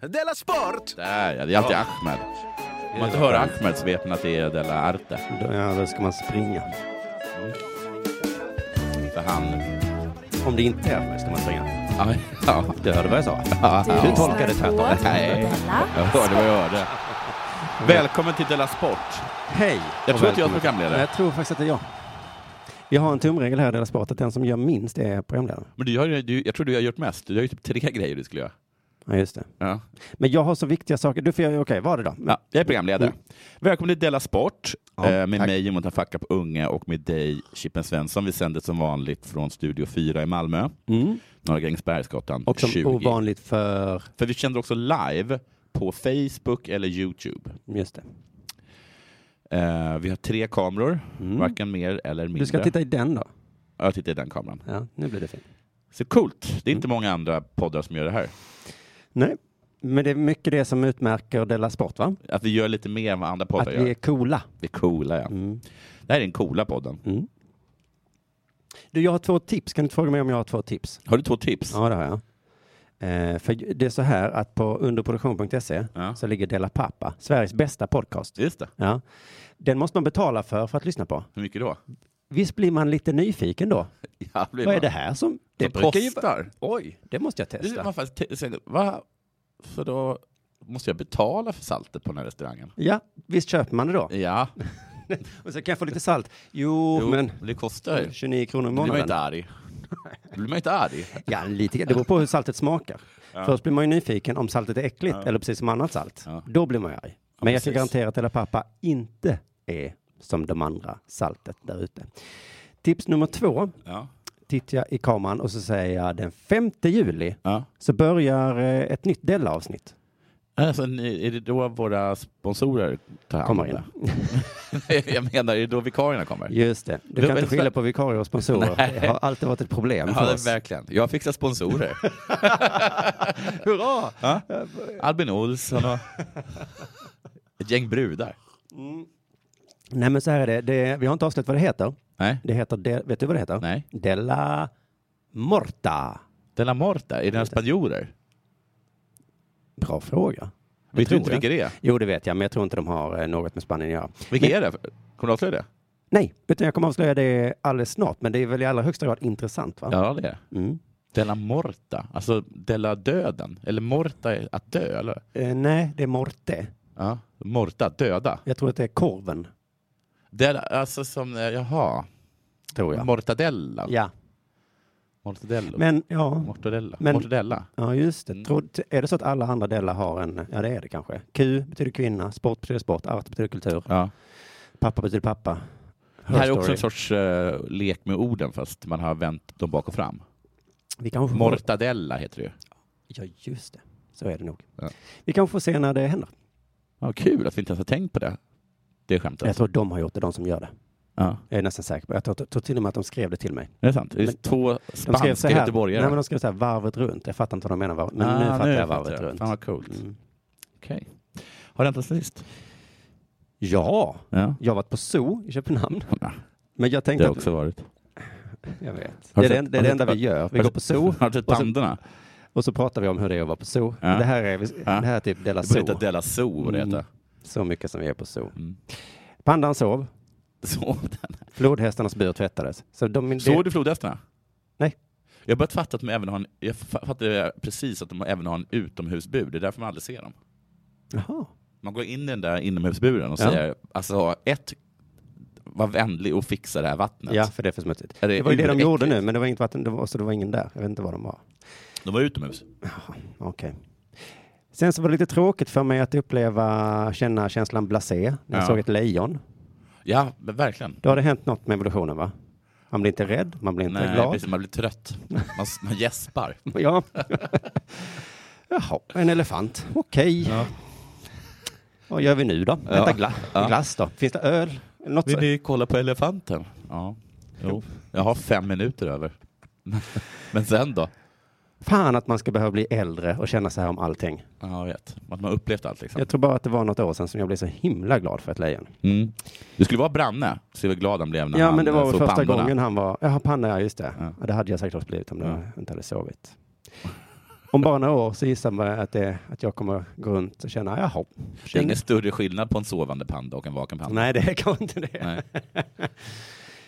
Della Sport! Där ja, det är alltid Ahmed. Om man inte hör Ahmed så vet man att det är Della Arte. Ja, då ska man springa. För han... Om det inte är Ahmed ska man springa. Ja, ja. Du hörde vad jag sa. ja. Du tolkade det tvärtom. Nej, jag hörde vad jag hörde. Välkommen till Della Sport. Hej! Jag och tror inte jag är välkommen. programledare. Nej, Jag tror faktiskt att det är jag. Vi har en tumregel här i Della Sport att den som gör minst är programledaren. Men du har, ju- du, jag tror du har gjort mest. Du har ju typ tre grejer du skulle göra. Ja, just det. Ja. Men jag har så viktiga saker. Du får jag, okej, vad är det då? Ja, jag är programledare. Välkommen till Della Sport Ja, eh, med tack. mig Jonathan Facka på Unge och med dig Chippen Svensson. Vi sänder som vanligt från Studio 4 i Malmö, Mm. Norra Grängesbergsgatan Och som 20. ovanligt för... För vi sänder också live på Facebook eller Youtube. Just det. Eh, vi har tre kameror, varken mer eller mindre. Mm. Du ska titta i den då. Ja, Jag tittar i den kameran. Ja, nu blir det fint. Så coolt. Det är inte Mm. många andra poddar som gör det här. Nej, men det är mycket det som utmärker Della Sport, va? Att vi gör lite mer än vad andra Att poddar vi gör. är coola. Vi är coola, ja. Mm. Det här är den coola podden. Mm. Du, jag har två tips. Kan du inte fråga mig om jag har två tips? Har du två tips? Ja, det har jag. Eh, för det är så här att på underproduktion.se Ja. så ligger Della Pappa, Sveriges bästa podcast. Just det. Ja. Den måste man betala för för att lyssna på. Hur mycket då? Visst blir man lite nyfiken då? Ja, blir Vad är man. det här som... Det Som kostar. Oj, det måste jag Det är- testa. Man faktiskt te- säger, va? För då måste jag betala för saltet på den här restaurangen. Ja, visst köper man det då? Ja, Och så kan jag få lite salt. Jo, jo, Oh, men det kostar ju. 29 kronor i Då blir man ju inte månaden. arg. Då blir man ju inte arg. Ja, lite grann. Det beror på hur saltet smakar. Först blir man ju nyfiken om saltet är äckligt eller precis som annat salt. Ja. Då blir man ju arg. Men jag kan precis. garantera att Della Pappa inte är som de andra saltet där ute. Tips nummer två. Ja. Tittar jag i kameran och så säger jag den 5 juli Ja. så börjar eh, ett nytt Della-avsnitt. Alltså, ni- är det då våra sponsorer tar hand om Kommer in. det? Jag menar, är det då vikarierna kommer? Just det. Du Det kan var inte en skilja sån- på vikarier och sponsorer. Det har alltid varit ett problem Ja, för det, oss. verkligen. Jag fixar sponsorer. Hurra! Eh, Ja. Albin Olsson och ett gäng brudar. Mm. Nej, men så här är det. det vi har inte avslöjat vad det heter. Nej. Det heter, de, vet du vad det heter? Nej. Della Morta. De la Morta, är det spanjorer? Bra fråga. Det Vet du tror inte jag. vilka det är? Jo, det vet jag, men jag tror inte de har eh, något med Spanien att göra. Vilka är det? Kommer du avslöja det? Nej, utan jag kommer avslöja det alldeles snart, men det är väl i allra högsta grad intressant, va? Ja, det är Mm. Della Morta, alltså Della Döden. Eller Morta är att dö, eller? Eh, nej, det är Morte. Ja. Morta, döda. Jag tror att det är korven, Della, alltså som, eh, jaha, tror jag. mortadella. ja, Mortadello. men ja, Mortadella. Men- Mortadella. ja just det. Mm. Tror, är det så att alla andra delar har en, ja det är det kanske. Q betyder kvinna, sport betyder sport, art betyder kultur, Ja. pappa betyder pappa. Det här är Her också story. en sorts eh, lek med orden fast man har vänt dem bak och fram. Vi kanske får, Mortadella heter det ju. ja, just det. Så är det nog. Ja. Vi kanske får se när det händer. Ja, kul att vi inte ens har tänkt på det. Det skämtet. Jag tror de har gjort det, de som gör det. Ja. Jag är nästan säker på Jag tror, tror till och med att de skrev det till mig. Det är sant. Det är Men- två De skrev så spanska här, göteborgare. Ah, nej, men de skrev så här varvet runt. Jag fattar inte vad de menar, varv- men nu fattar jag varvet runt. Fan vad coolt. Mm. Okej. Har det hänt sen sist? Ja, Ja. jag har varit på zoo i Köpenhamn. Men jag Det tänkte har att, också varit. jag vet. Har Det du är det, sett- det, är har det du enda vi sett- gör. Vi har du- går på zoo Har du sett Och så- tanderna? och så pratar vi om hur det är att vara på zoo. Ja. Det här är, det här är typ Della Det borde zoo. heta Della Zoo. vad Det heter. Så mycket som vi är på zoo. Mm. Pandan sov, Så, flodhästarnas bur tvättades. Så de, det, såg du flodhästarna? Nej. Jag har börjat fatta att de även har en, jag fa- fattade precis att de även har en utomhusbur. Det är därför man aldrig ser dem. Jaha. Man går in i den där inomhusburen och Ja. säger alltså ett, var vänlig och fixa det här vattnet. Ja, för det är för smutsigt. Ja, det Det, är var ju det de uräckligt. gjorde nu, men det var inget vatten, det var, så det var ingen där. Jag vet inte vad de var. De var utomhus. Okej. Sen så var det lite tråkigt för mig att uppleva, känna känslan blasé när jag Ja. såg ett lejon. Ja, men verkligen. Då har det hänt något med evolutionen va? Man blir inte rädd, man blir inte Nej, glad. precis, man blir trött. Man, s- man gäspar. Ja. Jaha, en elefant. Okej. Vad gör vi nu då? Äta gla- Ja. glass då? Finns det öl? Något Vill så? ni kolla på elefanten? Ja. Jo. Jag har fem minuter över. Men sen då? Fan att man ska behöva bli äldre och känna så här om allting. Ja, jag vet. Att man har upplevt allt liksom. Jag tror bara att det var något år sedan som jag blev så himla glad för ett lejon. Mm. Du skulle vara Branne, se hur glad han blev när ja, han men det eh, var väl såg första pandorna. gången han var... Jaha, panna, ja just det. Ja. Ja. Det hade jag säkert också blivit om jag Ja. inte hade sovit. Om bara några år så gissar man att, det, att jag kommer gå runt och känna, jaha. Det är känner- ingen större skillnad på en sovande panda och en vaken panda. Nej, det är kanske inte det. Nej.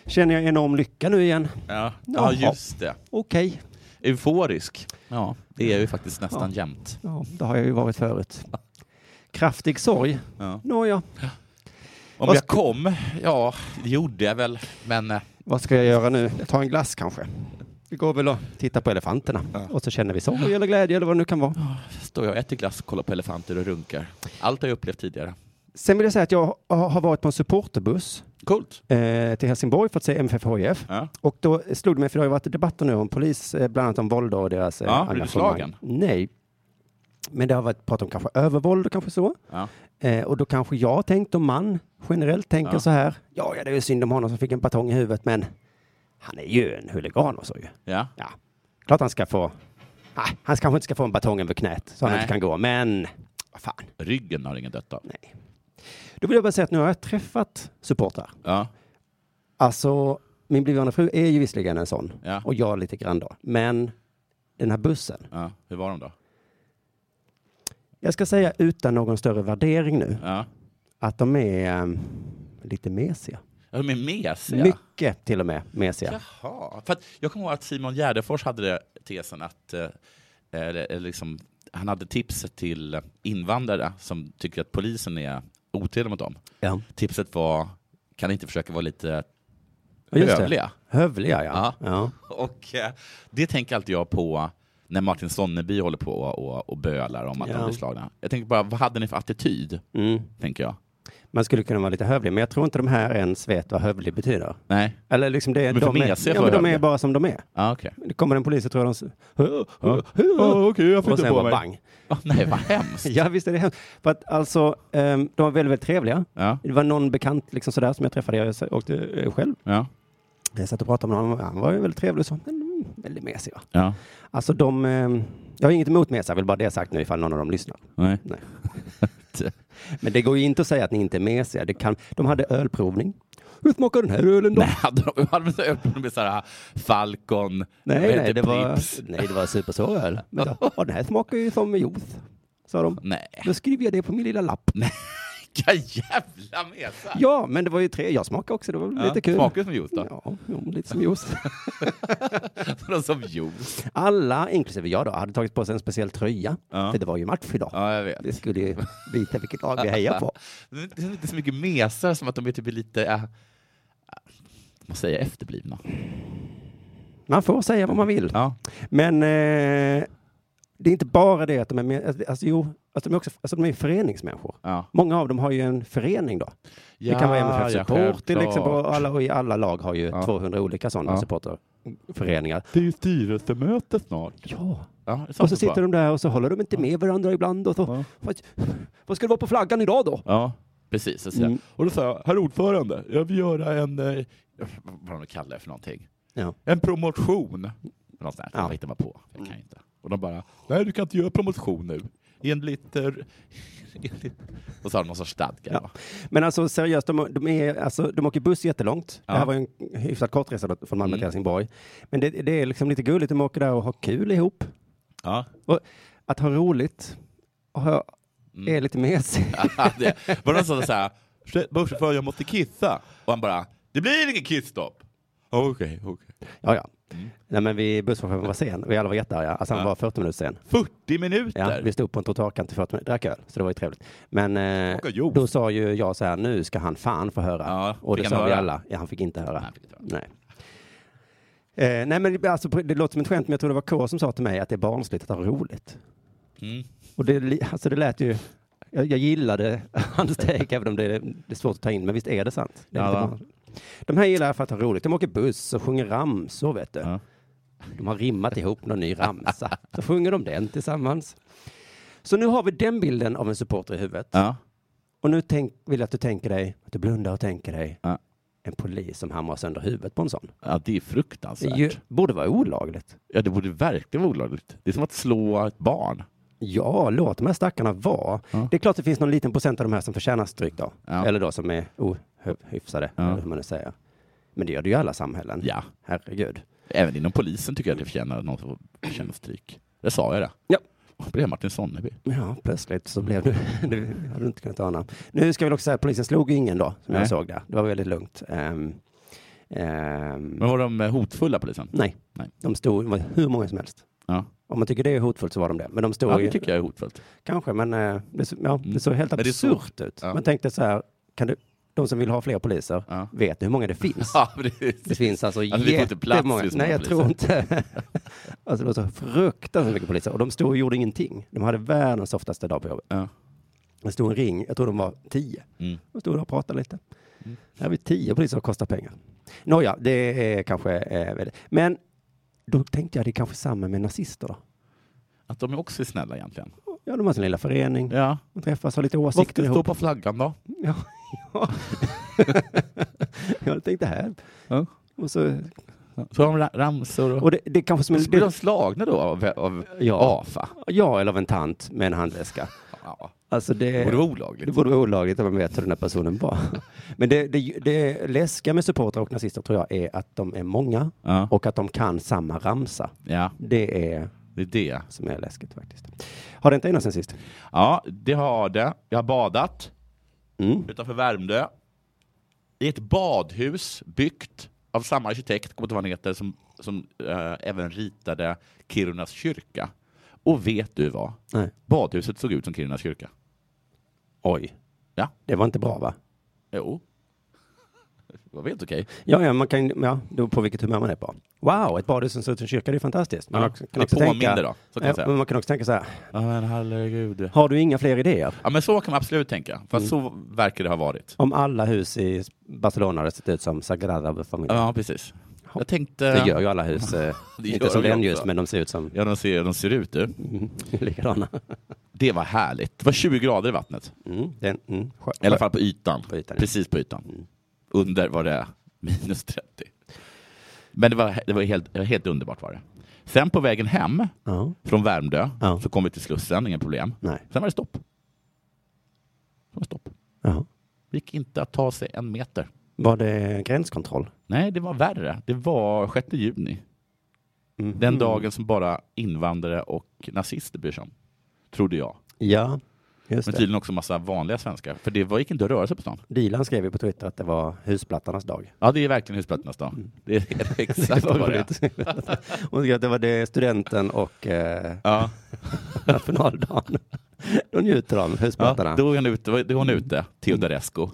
Känner jag enorm lycka nu igen? Ja. ja, Jaha. just det. Okej, Euforisk. Ja, det är ju faktiskt nästan jämnt. ja, det har jag ju varit förut. Kraftig sorg? Ja. Nåja, Om Vad jag kom? Ja, det gjorde jag väl. Men eh, vad ska jag göra nu? Ta en glass kanske? Vi går väl och tittar på elefanterna och så känner vi sorg eller glädje eller vad det nu kan vara. står jag och äter glass och kollar på elefanter och runkar. Allt har jag upplevt tidigare. Sen vill jag säga att jag har har varit på en supporterbuss Coolt. eh, till Helsingborg för att se MFF HIF. Ja. Och då slog det mig, för det har ju varit debatter nu om polis, eh, bland annat om våld och deras eh, Ja, blev du slagen? Nej. Men det har varit prat om kanske övervåld och kanske så. Ja. Eh, och då kanske jag tänkt om man generellt tänker Ja. så här. Ja, ja, det är ju synd om honom som fick en batong i huvudet, men han är ju en huligan och så ju. Ja. Ja, klart han ska få. Ah, han kanske inte ska få en batong över knät så han Nej. inte kan gå, men vad fan. Ryggen har ingen dött av. Nej. Då vill jag bara säga att nu har jag träffat supportrar. Ja. Alltså, min blivande fru är ju visserligen en sån. Ja. Och jag lite grann då. Men den här bussen. Ja. Hur var de då? Jag ska säga utan någon större värdering nu Ja. att de är ehm, lite mesiga. Ja, De är mesiga. Mycket till och med mesiga. Jaha. För att jag kommer ihåg att Simon Gärdenfors hade det- tesen att eh, eller, eller liksom, han hade tipset till invandrare som tycker att polisen är otrevlig mot dem. Ja. Tipset var, kan ni inte försöka vara lite Ja, just det. hövliga? Hövliga, ja. Ja. ja. Och eh, det tänker alltid jag på när Martin Sonneby håller på och, och bölar om att Ja. de blir slagna. Jag tänker bara, vad hade ni för attityd? Mm. Tänker jag. Man skulle kunna vara lite hövlig, men jag tror inte de här ens vet vad hövlig betyder. Nej? Eller liksom det, Men för de, mesiga är, ja, får men de är hövliga. bara som de är. Ja, okej. Det kommer en polis och tror de... s- Okej, jag Och sen bara bang. Ah, nej, vad hemskt. Ja, visst är det hemskt. För att alltså, ehm, de var väldigt, väldigt trevliga. Ja, Det var någon bekant liksom sådär som jag träffade, jag s- åkte eh, själv. ja, Jag satt och pratade med honom, han var ju väldigt trevlig och så, men mm, väldigt mesig. Va? ja. Alltså de, eh, jag har inget emot mesar, jag vill bara det sagt nu ifall någon av dem lyssnar. Nej. Nej. Men det går ju inte att säga att ni inte är mesiga. Det kan, de hade ölprovning. Hur smakar den här ölen då? Nej, hade de hade de så öppnat med så här Falcon, Nej, vad heter nej, det, var, Pripps? nej det var supersår öl. Men då, "Ja, den här smakar ju som juice, sa de. Nej, Då skriver jag det på min lilla lapp. vilka jävla mesar! Ja, men det var ju tre, jag smakade också, det var väl lite kul. Smakar som juice då? Ja, jo, lite som juice. Ja. som juice. Alla, inklusive jag då, hade tagit på sig en speciell tröja. Ja. För det var ju match idag. Ja, jag vet. Det skulle ju visa vilket lag vi hejar på. Det är inte- det är inte så mycket mesar som att de är typ lite, äh, äh, man säger efterblivna. Man får säga vad man vill. Ja. Men eh, det är inte bara det att de är med, alltså, jo, alltså, de är också alltså, de är föreningsmänniskor. Ja. Många av dem har ju en förening då. det liksom kan vara MFF Support till exempel. Och alla, och i alla lag har ju Ja. 200 olika sådana Ja. supporterföreningar. Det är ju styrelsemöte snart. Ja, Ja, det är sant och så det sitter bara. de där och så håller de inte med varandra ibland. Och så, Ja. vad, vad ska det vara på flaggan idag då? Ja, precis. Så säger jag. Mm. Och då sa jag, herr ordförande, jag vill göra en, eh, vad de kallar det för någonting, Ja. en promotion. Något sånt där. Ja. Mm. Jag hittar bara på, jag kan ju inte. Och de bara, nej du kan inte göra promotion nu. Enligt... eh, enligt- Och så har de någon sorts stadga. Ja. va? Men alltså seriöst, de, de, är, alltså, de åker buss jättelångt. Det Ja. här var ju en hyfsat kort resa då, från Malmö Mm. till Helsingborg. Men det, det är liksom lite gulligt, de åker där och har kul ihop. Ja. Att ha roligt och ha, Mm. är lite mesigt. det var någon som sa så här, "Ursäkta, busschaufför jag måste kissa. Och han bara, det blir ingen kissstopp. Okej, okej. Ja, ja. Mm. Nej, men vi busschauffören var sen och vi alla var jättearga. Alltså han Ja. var 40 minuter sen. 40 minuter? Ja, vi stod på en trottoarkant i 40 minuter, drack öl, så det var ju trevligt. Men eh, Åka juice. då sa ju jag så här, nu ska han fan få höra. Ja, och fick det han sa vi höra? alla. Ja, han fick inte höra. Nej, han fick inte höra. Nej. Eh, nej men alltså, det låter som ett skämt, men jag tror det var K som sa till mig att det är barnsligt att ha roligt. Mm. Och det, li- alltså det lät ju... Jag, jag gillade hans take, även om det är, det är svårt att ta in, men visst är det sant? Det är Ja, lite va? barnsligt. de här gillar jag för att ha roligt. De åker buss och sjunger ramsor, vet du. Ja. De har rimmat ihop någon ny ramsa. Så sjunger de den tillsammans. Så nu har vi den bilden av en supporter i huvudet. Ja. Och nu tänk, vill jag att du tänker dig, att du blundar och tänker dig Ja. en polis som hamrar sönder huvudet på en sån. ja, det är Det fruktansvärt. är ju, borde vara olagligt. Ja, det borde verkligen vara olagligt. Det är som att slå ett barn. Ja, låt de här stackarna vara. Ja. Det är klart det finns någon liten procent av de här som förtjänar stryk då. Ja. Eller då som är ohyfsade, Ja. eller hur man nu säger. Men det gör det ju i alla samhällen. Ja, Herregud. även inom polisen tycker jag att det förtjänar någon som förtjänar stryk. Där sa jag det. Ja. Och blev Martin Sonneby. Ja, plötsligt så blev du... du hade du inte kunnat ana. Nu ska vi också säga att polisen slog ju ingen då, som Nej. jag såg där. Det var väldigt lugnt. Ehm, ehm, Men var de eh, hotfulla polisen? nej, Nej. de stod, det var hur många som helst. Ja, Om man tycker det är hotfullt så var de det. Men de stod ja ju, det tycker jag är hotfullt. kanske, men eh, det, så- ja, Mm. det såg helt Men det är så- absurt ut. Ja. Man tänkte så här, kan du, de som vill ha fler poliser, Ja. vet du hur många det finns? Ja, precis. Det finns alltså, Alltså, vi får inte plats jättemånga. för så Nej, många jag tror inte. alltså, det var så fruktansvärt mycket poliser. Och de stod och gjorde ingenting. De hade världens softaste dag på jobbet. Ja. Det stod en ring, jag tror de var tio. Mm. De stod där och pratade lite. Mm. Här har vi tio poliser och kostar pengar. Nåja, det är kanske... Eh, väldigt- men då tänkte jag det är kanske samma med nazister då. Att de är också snälla egentligen. Ja, de har sin lilla förening. Ja. De träffas, har lite Vad ska åsikter det ihop. stå på flaggan då? Ja, ja. jag tänkte här. Ja. Och, så, Så har de ra- ramsor och... och det, det är kanske som en... Så blir de slagna då av, av ja. AFA? ja, eller av en tant med en handväska. Ja. Alltså det, Det borde vara det olagligt. borde vara olagligt om man vet hur den här personen var. Men det, det, det läskiga med supportrar och nazister tror jag är att de är många Ja. och att de kan samma ramsa. ja, Det är det är det. som är läskigt faktiskt. Har det inte ena sen sist? Ja, det har det. Jag har badat Mm. utanför Värmdö. I ett badhus byggt av samma arkitekt, kommer inte ihåg vad han heter, som, som eh, även ritade Kirunas kyrka. Och vet du vad? Nej. Badhuset såg ut som Kirunas kyrka. Oj. Ja. Det var inte bra va? Jo. Det var helt okej. Ja, ja, man kan, ja, det beror på vilket humör man är på. Wow, ett badhus som ser ut som en kyrka, det är fantastiskt. Man Ja, också- det också påminner tänka- då, så kan Ja, jag säga. men man kan också tänka så här, Ja, men herregud. har du inga fler idéer? Ja, men så kan man absolut tänka. För Mm. så verkar det ha varit. Om alla hus i Barcelona hade sett ut som Sagrada Familia. Ja, precis. Jag tänkte... Det gör ju alla hus, eh, Det inte gör som vi den också. just, men de ser ut som Ja, de ser, de ser ut du. mm, likadana. Det var härligt. Det var 20 grader i vattnet. Mm, den, mm, skö- I alla fall på ytan. På ytan, ja. Precis på ytan. Mm. Under var det minus 30. Men det var, det var helt, det var helt underbart var det. Sen på vägen hem Ja, från Värmdö Ja. så kom vi till Slussen, inga problem. nej. Sen var det stopp. Det var stopp. Ja. Det gick inte att ta sig en meter. Var det gränskontroll? Nej, det var värre. Det var 6 juni. Mhm. Den dagen som bara invandrare och nazister bryr sig om. Trodde jag. Ja, typ- just Men det. tydligen också massa vanliga svenskar. För det var, gick inte att röra sig på stan. Dilan skrev ju på Twitter att det var husplattarnas dag. Ja, det är verkligen husplattornas dag. Det är exakt Mm. det var vad det är. Hon skrev att det var det studenten och eh, Ja, nationaldagen. Då njuter de, ja, husplattarna. då är hon ute, då är hon ute Mm. Teodorescu.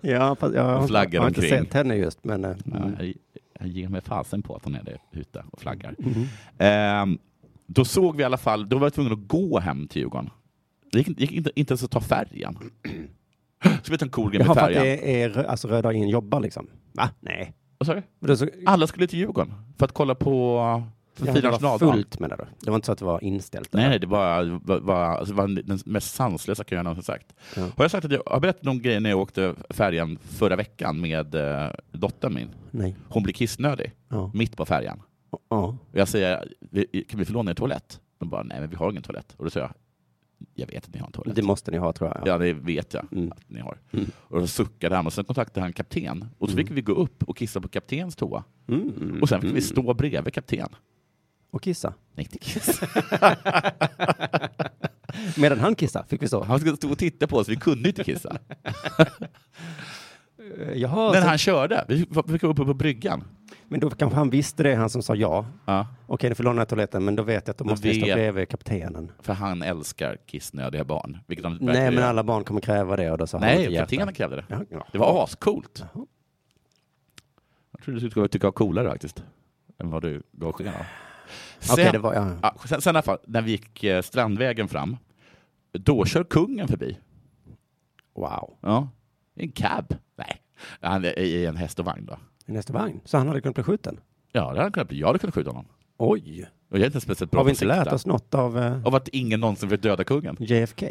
Ja, fast jag har, flaggar jag har inte omkring. sett henne just, men... eh, Ja, jag- jag ger mig fasen på att hon är där ute och flaggar. mhm. Ehm, då såg vi i alla fall, då var jag tvungen att gå hem till Djurgården. Det gick, gick inte, inte ens att ta färjan. Ska vi ta en Kohlgren Jaha, med för att färjan? det är rö- alltså Röda dagen jobbar liksom? Va? Nej. Vad sa du? Men det är så, Alla skulle till Djurgården för att kolla på Ah, för Ja, att fira men det var nationaldagen. fullt menar du? Det var inte så att det var inställt? Nej, eller? nej, det var, var, var, alltså, det var den mest sanslösa kön jag någonsin sagt. Ja. Har jag sagt att jag har jag berättat om grejen när jag åkte färjan förra veckan med eh, dottern min? Nej. Hon blir kissnödig Ja. mitt på färjan. ja. Och jag säger, "Vi- kan vi få låna en toalett? De bara, nej men vi har ingen toalett. Och då säger jag, jag vet att ni har en toalett. Det måste ni ha tror jag. Ja, det vet jag Mm. att ni har. Mm. Och då suckade han och sen kontaktade han kapten. Och så fick vi gå upp och kissa på kaptens toa. Mm. Och sen fick vi stå bredvid kapten. Och kissa. Nej, inte kissa. Medan han kissade fick vi så. Han skulle stå och titta på oss, vi kunde inte kissa. Eh, Jaha, När så, han körde, vi vi fick gå upp på bryggan. men då kanske han visste det, han som sa ja. Ja. Okej, nu får låna toaletten, men då vet jag att då Då måste vi stå vet- bredvid kaptenen. För han älskar kissnödiga barn. Vilket de Nej, men alla barn kommer kräva det och då sa han Nej, inte hjärta. kaptenen krävde det. Ja, ja. Det var ascoolt. Jaha. Jag trodde du skulle tycka var coolare faktiskt. Än vad du gav sken av. Sen, Okej, det var... Ja. ja, sen, sen i alla fall, när vi gick eh, Strandvägen fram, då kör kungen förbi. Wow. Ja. I en cab. Nej, han är i en häst och vagn då. I nästa vagn. Så han hade kunnat bli skjuten? Ja, det hade han kunnat bli. Jag hade kunnat skjuta honom. Oj. Och jag är inte speciellt bra Har vi på inte att lärt sikta. oss något av eh, Av att ingen någonsin vill döda kungen. JFK?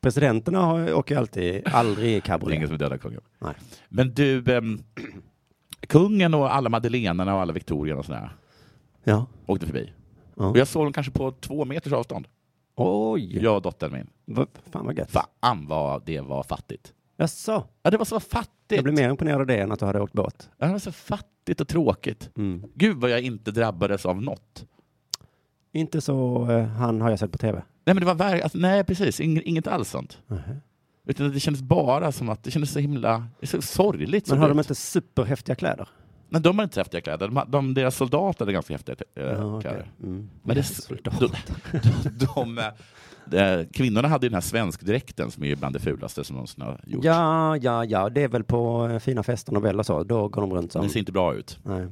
Presidenterna har, åker ju alltid, aldrig i Det är ingen cabriolet. som vill döda kungen. Nej. Men du, ehm, kungen och alla Madelenarna och alla Victorierna och sådär Ja. åkte förbi. Ja. Och jag såg dem kanske på två meters avstånd. Oj! Jag och dottern min. Va, fan vad gött. Fan vad det var fattigt. Jaså? Ja, det var så fattigt. Jag blev mer imponerad av det än att du hade åkt båt. Ja, det var så fattigt. töntigt och tråkigt. Mm. Gud vad jag inte drabbades av något. Inte så eh, han har jag sett på tv. Nej, men det var ver- alltså, nej precis, Ing- inget alls sånt. Utan det kändes bara som att det kändes så himla det är så sorgligt. Men såg har det de ut. inte superhäftiga kläder? Nej, de har inte så häftiga kläder. De, har- de, deras soldater hade ganska häftiga eh, Ja, okej. kläder. Mm. Men det, Soldater. de, de, de, eh, kvinnorna hade ju den här svenskdräkten som är ju bland det fulaste som någonsin har gjorts. Ja, ja, ja, det är väl på eh, fina fester, Nobel och så. Då går de runt som... Det ser inte bra ut. Nej.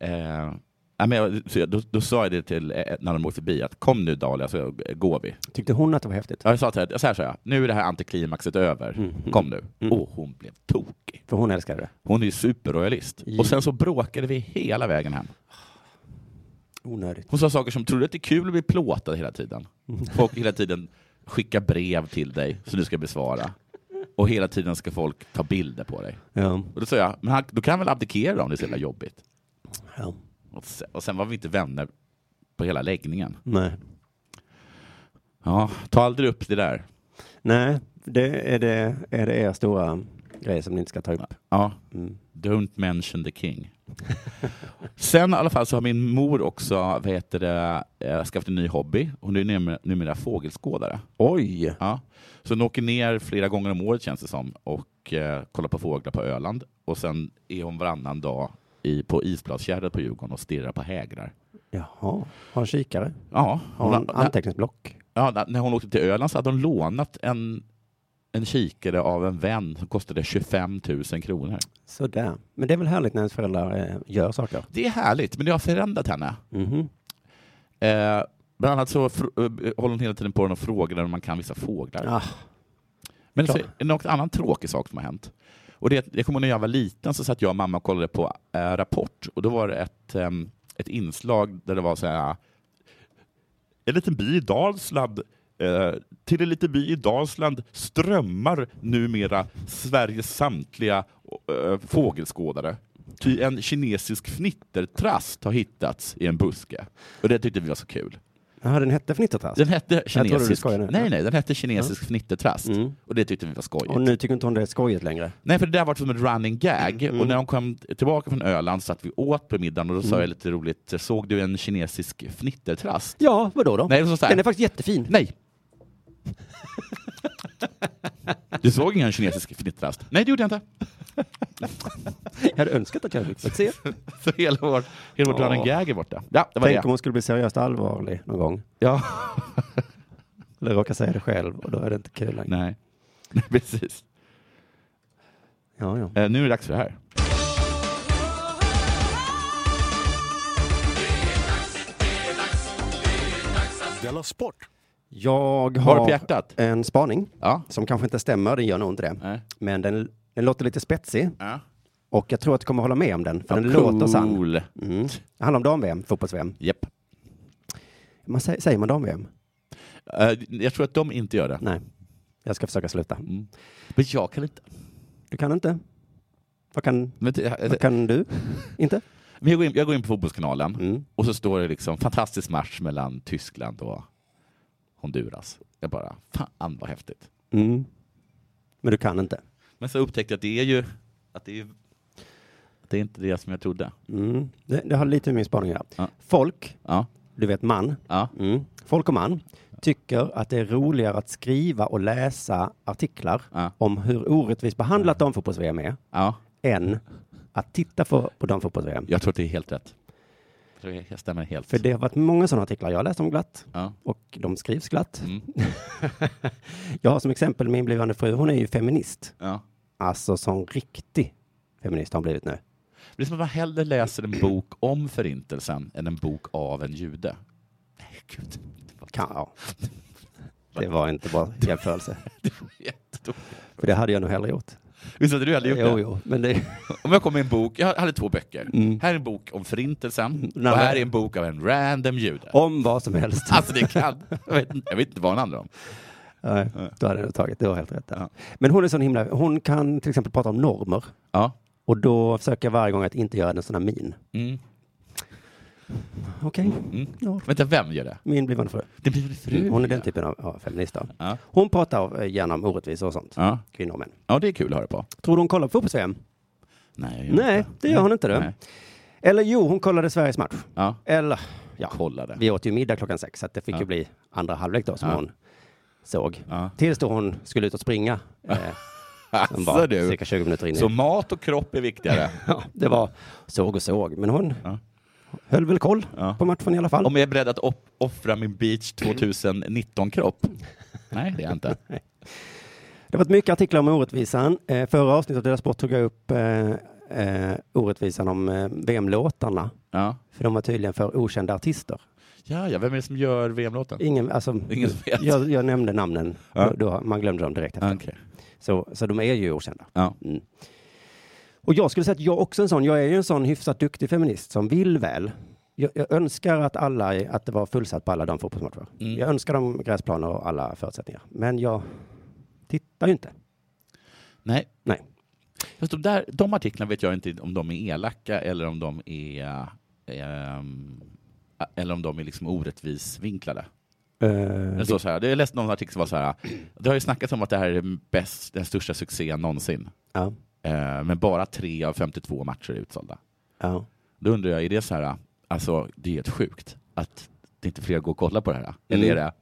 Eh, nej, men jag, så jag, då, då sa jag det till eh, när de åkte förbi, att kom nu Dahlia så eh, går vi. Tyckte hon att det var häftigt? Ja, Jag sa till henne, så här sa jag, nu är det här antiklimaxet över, Mm. kom nu. Mm. Och hon blev tokig. För hon älskade det. Hon är ju superroyalist. Ja. Och sen så bråkade vi hela vägen hem. Onödigt. Hon sa saker som, tror du att det är kul att bli plåtad hela tiden? Mm. Folk hela tiden skickar brev till dig som du ska besvara. Och hela tiden ska folk ta bilder på dig. Ja. Och då sa jag, men han, då kan han väl abdikera då om det är så jävla jobbigt? ja. Och sen, och sen var vi inte vänner på hela läggningen. Nej. Ja, ta aldrig upp det där. Nej, det är, det är det er stora grej som ni inte ska ta upp. Ja, Mm. don't mention the king. Sen i alla fall så har min mor också vad heter det, eh, skaffat en ny hobby. Hon är numera, numera fågelskådare. Oj! Ja. Så hon åker ner flera gånger om året känns det som och eh, kollar på fåglar på Öland. Och sen är hon varannan dag i, på Isbladsgärdet på Djurgården och stirrar på hägrar. Jaha. Har en kikare? Ja, Har en na- anteckningsblock? ja, na- när hon åkte till Öland så hade hon lånat en, en kikare av en vän som kostade 25 000 kronor. Sådär. Men det är väl härligt när ens föräldrar eh, gör saker? Det är härligt, men det har förändrat henne. Mhm. Eh, bland annat så fr- eh, håller hon hela tiden på och frågar om man kan vissa fåglar. Ah, Men så klart. är det något annan tråkig sak som har hänt. Och det, jag kommer ihåg när jag var liten så satt jag och mamma och kollade på eh, Rapport och då var det ett, ehm, ett inslag där det var så här En liten by i Dalsland eh, till en liten by i Dalsland strömmar numera Sveriges samtliga eh, fågelskådare. Ty en kinesisk fnittertrast har hittats i en buske. Och det tyckte vi var så kul. Jaha, den hette Fnittertass? Den hette Alltså. trodde du kinesisk, skojade nu. nej, nej, den hette kinesisk fnittertrast. Mm. Och det tyckte vi var skojigt. Och nu tycker inte hon det är skojigt längre? Nej, för det där var som en running gag. Mm. Och när hon kom tillbaka från Öland satt vi åt på middagen och då sa jag lite roligt, såg du en kinesisk fnittertrast? Ja, vadå då? Nej, det var så här. Den är faktiskt jättefin. Nej! Du såg ingen kinesisk fnittertrast? Nej, det gjorde jag inte. Jag hade önskat att jag hade fått se. Så hela vårt, hela vårt Ja. running gag är borta. Ja, det var Tänk om det. hon skulle bli seriöst allvarlig någon gång. Ja. Eller råka säga det själv och då är det inte kul längre. Nej. Nej, precis. Ja, ja. Eh, nu är det dags för det här. Della Sport! Jag Har du på har hjärtat? en spaning Ja. som kanske inte stämmer, den gör nog inte det. Nej. Men den, den låter lite spetsig Ja. och jag tror att du kommer hålla med om den, för den låter sann. Cool. Mm. Det handlar om dam-VM, fotbolls-VM. Japp. Man säger, säger man dam-VM? Eh, jag tror att de inte gör det. Nej, jag ska försöka sluta. Mm. Men jag kan inte. Du kan inte? Vad kan, Men, det- eh, vad kan du? Inte? men jag, går in, jag går in på Fotbollskanalen Mm. och så står det liksom fantastisk match mellan Tyskland och Honduras. Jag bara, fan vad häftigt. Mm. Men du kan inte? Men så upptäckte jag att det är ju, att det är, ju- att det är inte det som jag trodde. Mm. Det, det har lite med min spaning att Ja. göra. Folk, Ja, du vet man, ja. mm. folk och man tycker att det är roligare att skriva och läsa artiklar Ja. om hur orättvist behandlat damfotbolls-VM är ja. än att titta på, på damfotbolls-VM. Jag tror att det är helt rätt. Jag tror det stämmer helt. För det har varit många sådana artiklar jag har läst om glatt Ja. och de skrivs glatt. Mm. Jag har som exempel min blivande fru, hon är ju feminist. Ja. Alltså som riktig feminist har hon blivit nu. Det är som att man hellre läser en bok om förintelsen än en bok av en jude. Nej, gud. Kan, ja. Det var inte bra jämförelse. Jättedåligt. För det hade jag nog hellre gjort. Visst hade du aldrig gjort det? Jo, jo, men det... Om jag kom med en bok, jag hade två böcker. Här är en bok om förintelsen Mm. Nej, och här men- är en bok av en random jude. Om vad som helst. Alltså det kan, jag vet, inte- jag vet inte vad den handlar om. Nej, då hade jag nog tagit, du har helt rätt där. Ja. Men hon är sån himla, hon kan till exempel prata om normer. Ja. Och då försöker jag varje gång att inte göra en sån här min. Mm. Okej, Mm. ja. Vänta, vem gör det? min blivande fru. Det blir väl fru? Mm, Hon är den typen av ja, feminist. då. Ja. Hon pratar eh, gärna om orättvisor och sånt. Ja. Kvinnor och män. ja, det är kul att höra på. Tror du hon kollar på fotbolls-VM? Nej, jag Nej, inte. det gör hon inte det. Nej. Eller jo, hon kollade Sveriges match. Ja, Eller, ja, kollade. vi åt ju middag klockan sex, så att det fick Ja. ju bli andra halvlek då som Ja. hon såg. Ja. Tills då hon skulle ut och springa. Eh, som Alltså, var du. cirka 20 minuter in i. Så mat och kropp är viktigare. Ja, det var såg och såg, men hon Ja. höll väl koll Ja. på matchen i alla fall. Om jag är beredd att op- offra min beach 2019-kropp? Nej, det är jag inte. Det har varit mycket artiklar om orättvisan. Eh, förra avsnittet av Dela Sport tog jag upp eh, eh, orättvisan om eh, VM-låtarna. Ja. För de var tydligen för okända artister. Ja, ja, vem är det som gör VM-låten? Ingen, alltså, Ingen som vet. jag, jag nämnde namnen. Ja. Då, då, man glömde dem direkt efter. Ja, okej. Så, så de är ju okända. Ja. Mm. Och jag skulle säga att jag också är en sån. Jag är ju en sån hyfsat duktig feminist som vill väl. Jag, jag önskar att, alla, att det var fullsatt på alla de fotbollsmatcher. Mm. Jag önskar dem gräsplaner och alla förutsättningar. Men jag tittar ju inte. Nej. Nej. Fast de, där, de artiklarna vet jag inte om de är elaka eller om de är, ehm, eller om de är liksom orättvis vinklade. Eh, Det står så här, jag läste någon artikel som var så här, det har ju snackats om att det här är den bäst, den största succén någonsin, ja, Eh, men bara tre av 52 matcher är utsålda. ja. Då undrar jag, är det så här, alltså det är helt sjukt att det inte fler går och kollar på det här? Eller Mm. är det,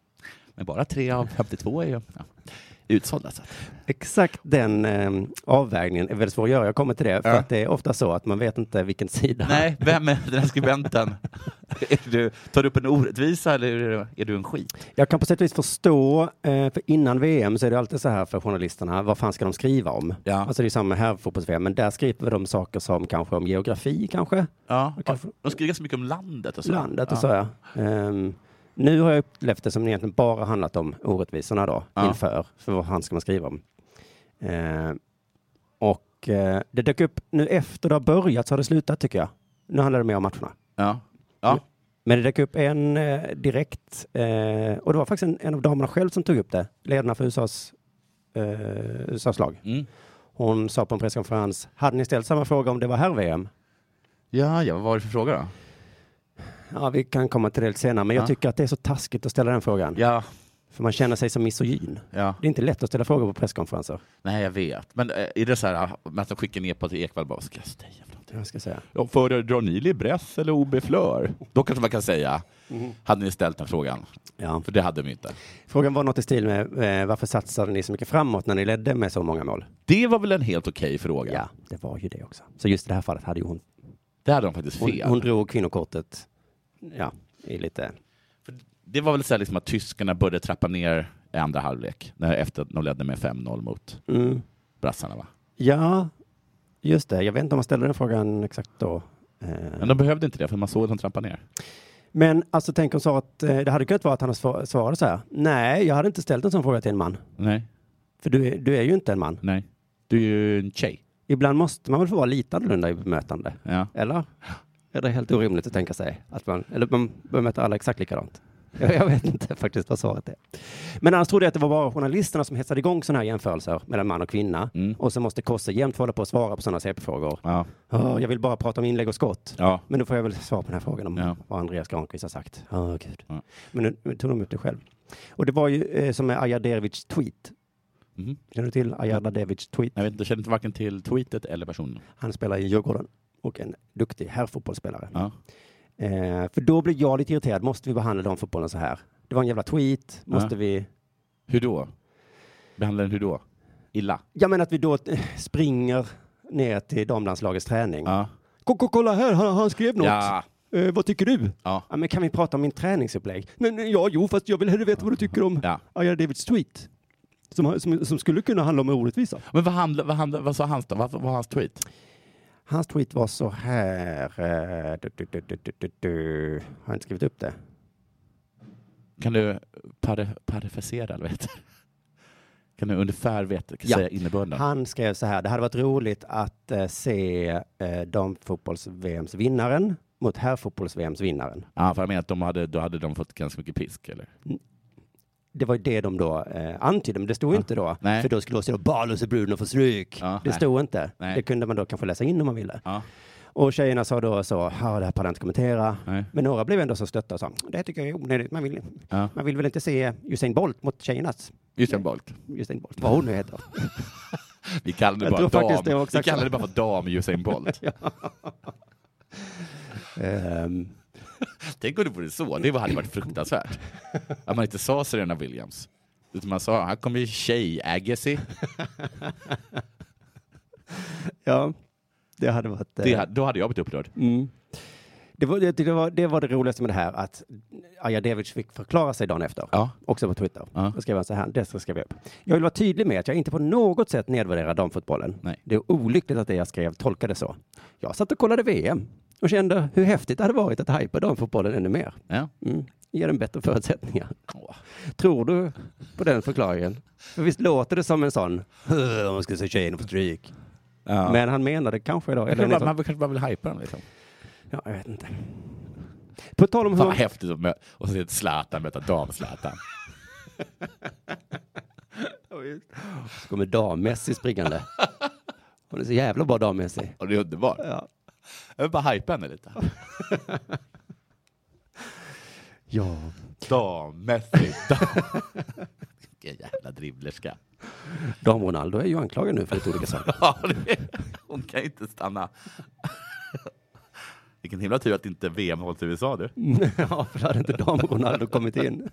men bara tre av 52 är ju ja, utsålda. Så. att- Exakt den eh, avvägningen är väldigt svår att göra. Jag kommer till det. För Ja. att det är ofta så att man vet inte vilken sida. Nej, vem är den här skribenten? är du, tar du upp en orättvisa eller är du, är du en skit? Jag kan på sätt och vis förstå, eh, för innan VM så är det alltid så här för journalisterna, vad fan ska de skriva om? Ja. Alltså det är samma här fotbolls VM, men där skriver de saker som kanske om geografi kanske, Ja, Okej. de skriver ganska mycket om landet och så. landet och Ja. så ja. Ehm, nu har jag upplevt det som egentligen bara handlat om orättvisorna då, Ja. inför, för vad fan ska man skriva om? Ehm, och eh, det dök upp nu efter det har börjat så har det slutat tycker jag. Nu handlar det mer om matcherna. Ja. Ja. Men det dök upp en eh, direkt, eh, och det var faktiskt en, en av damerna själv som tog upp det, ledarna för USAs, eh, USAs lag. Mm. Hon sa på en presskonferens, hade ni ställt samma fråga om det var här-VM? Ja, ja, vad var det för fråga då? Ja, vi kan komma till det lite senare, men Ja. jag tycker att det är så taskigt att ställa den frågan. Ja, För man känner sig som misogyn. ja. Det är inte lätt att ställa frågor på presskonferenser. Nej, jag vet. Men eh, är det så här ah, men att de skickar ner på till Ekwall bara, ska jag säga för någonting? Jag ska säga. Ja, föredrar ni Libress eller OB Flör? Då kanske man kan säga, Mm-hmm. hade ni ställt den frågan? Ja. För det hade de ju inte. Frågan var något i stil med, eh, varför satsade ni så mycket framåt när ni ledde med så många mål? Det var väl en helt okej fråga? Ja, det var ju det också. Så just i det här fallet hade ju hon, Det hade de faktiskt hon, fel. hon drog kvinnokortet, ja, i lite Det var väl så här liksom att tyskarna började trappa ner i andra halvlek, när, efter att de ledde med 5-0 mot Mm. brassarna va? Ja, just det. Jag vet inte om man ställde den frågan exakt då. Eh, Men de behövde inte det, för man såg att de trappade ner. Men alltså tänk om sa att eh, det hade kunnat vara att han svar- svarade så här. Nej, jag hade inte ställt en sån fråga till en man. Nej, För du är, du är ju inte en man. nej. Du är ju en tjej. Ibland måste man väl få vara lite annorlunda i bemötande. Ja. Eller? Är det helt orimligt att tänka sig att man, eller man bemöter alla exakt likadant? Jag, jag vet inte faktiskt vad svaret är. Men annars trodde jag att det var bara journalisterna som hetsade igång sådana här jämförelser mellan man och kvinna. Mm. Och så måste Kosse jämt hålla på att svara på sådana CP-frågor. Ja. Åh, jag vill bara prata om inlägg och skott. ja. Men då får jag väl svara på den här frågan om Ja. vad Andreas Granqvist har sagt. Oh, gud. Ja. Men nu, nu tog de upp det själv. Och det var ju eh, som med Ajadevics tweet. Mhm. Känner du till Ajadevics tweet? Jag, vet, inte, jag känner inte varken till tweetet eller personen. Han spelar i Djurgården och en duktig herrfotbollsspelare. Ja. Eh, för då blev jag lite irriterad. Måste vi behandla de fotbollen så här? Det var en jävla tweet. Måste vi... Hur då? Behandlar den hur då? Illa? Jag menar att vi då eh, springer ner till damlandslagets träning. Ja. Ko- ko- Kolla här, han, han skrev något. Ja. Eh, vad tycker du? Ja. Ja, men kan vi prata om min träningsupplägg? Nej, nej, ja, jo, fast jag vill hellre veta vad du tycker om ja. Aja Davids tweet. Som, som, som skulle kunna handla om orättvisa. Men vad, handla, vad, handla, vad sa hans då? Vad vad var hans tweet? Hans tweet var så här. eh, Du, du, du, du, du, du, du. Har jag inte skrivit upp det? Kan du pare- parafrasera eller vet Kan du ungefär veta, Ja. säga innebörden? Han skrev så här. Det hade varit roligt att eh, se eh, damfotbolls-VMs vinnaren mot herrfotbolls-VMs vinnaren. Ja, för jag menar att de hade, då hade de fått ganska mycket pisk, eller? Det var ju det de då eh, antydde, men det stod ju inte då. Nej. För då skulle det stå Balus och Bruno får stryk. Ja, det nej. stod inte. Nej. Det kunde man då kanske läsa in om man ville. Ja. Och tjejerna sa då så, ja det här pallar jag inte kommentera. Nej. Men några blev ändå så stötta och sa, det här tycker jag är onödigt. Man vill, Ja. man vill väl inte se Usain Bolt mot tjejernas Usain Bolt. Usain Bolt, vad hon nu heter. Vi kallar det Jag bara tror faktiskt det var dam. Vi exakt kallar så. det bara för dam Usain Bolt. Ehm, Tänk om det vore så. Det hade varit fruktansvärt. Att man inte sa Serena Williams. Utan man sa, här kommer tjej Agassi. ja, det hade varit... eh, Det, ha- då hade jag blivit upprörd. Mm. Det, var, jag tyckte det, var, det var det roligaste med det här, att Ajadevic fick förklara sig dagen efter. Ja. Också på Twitter. Ja. Då skrev han så här, det ska jag skriva upp. Jag vill vara tydlig med att jag inte på något sätt nedvärderar damfotbollen. Nej. Det är olyckligt att det jag skrev tolkade så. Jag satt och kollade VM och kände hur häftigt det hade varit att hypa damfotbollen ännu mer. Ja. Mm. Ge den bättre förutsättningar. Åh. Tror du på den förklaringen? För visst låter det som en sån, "Hur, om man skulle se tjejerna på stryk. Ja. Men han menade kanske då, jag eller tror bara, ungefär- man kanske bara vill hypa den. Liksom. Ja, jag vet inte. På tal om hur... Fan vad häftigt att möta, och se ett Zlatan möta dam-Zlatan. Så kommer dam-Messi springande. Hon är så jävla bra dam-Messi. Och det är underbart. Jag vill bara hypa henne lite. Ja. Dammässig dam. Vilken jävla dribblerska. Dam-Ronaldo är ju anklagad nu för lite olika saker. Ja, det- Hon kan ju inte stanna. Vilken himla tur att inte VM hålls i USA du. ja, för då hade inte dam-Ronaldo kommit in.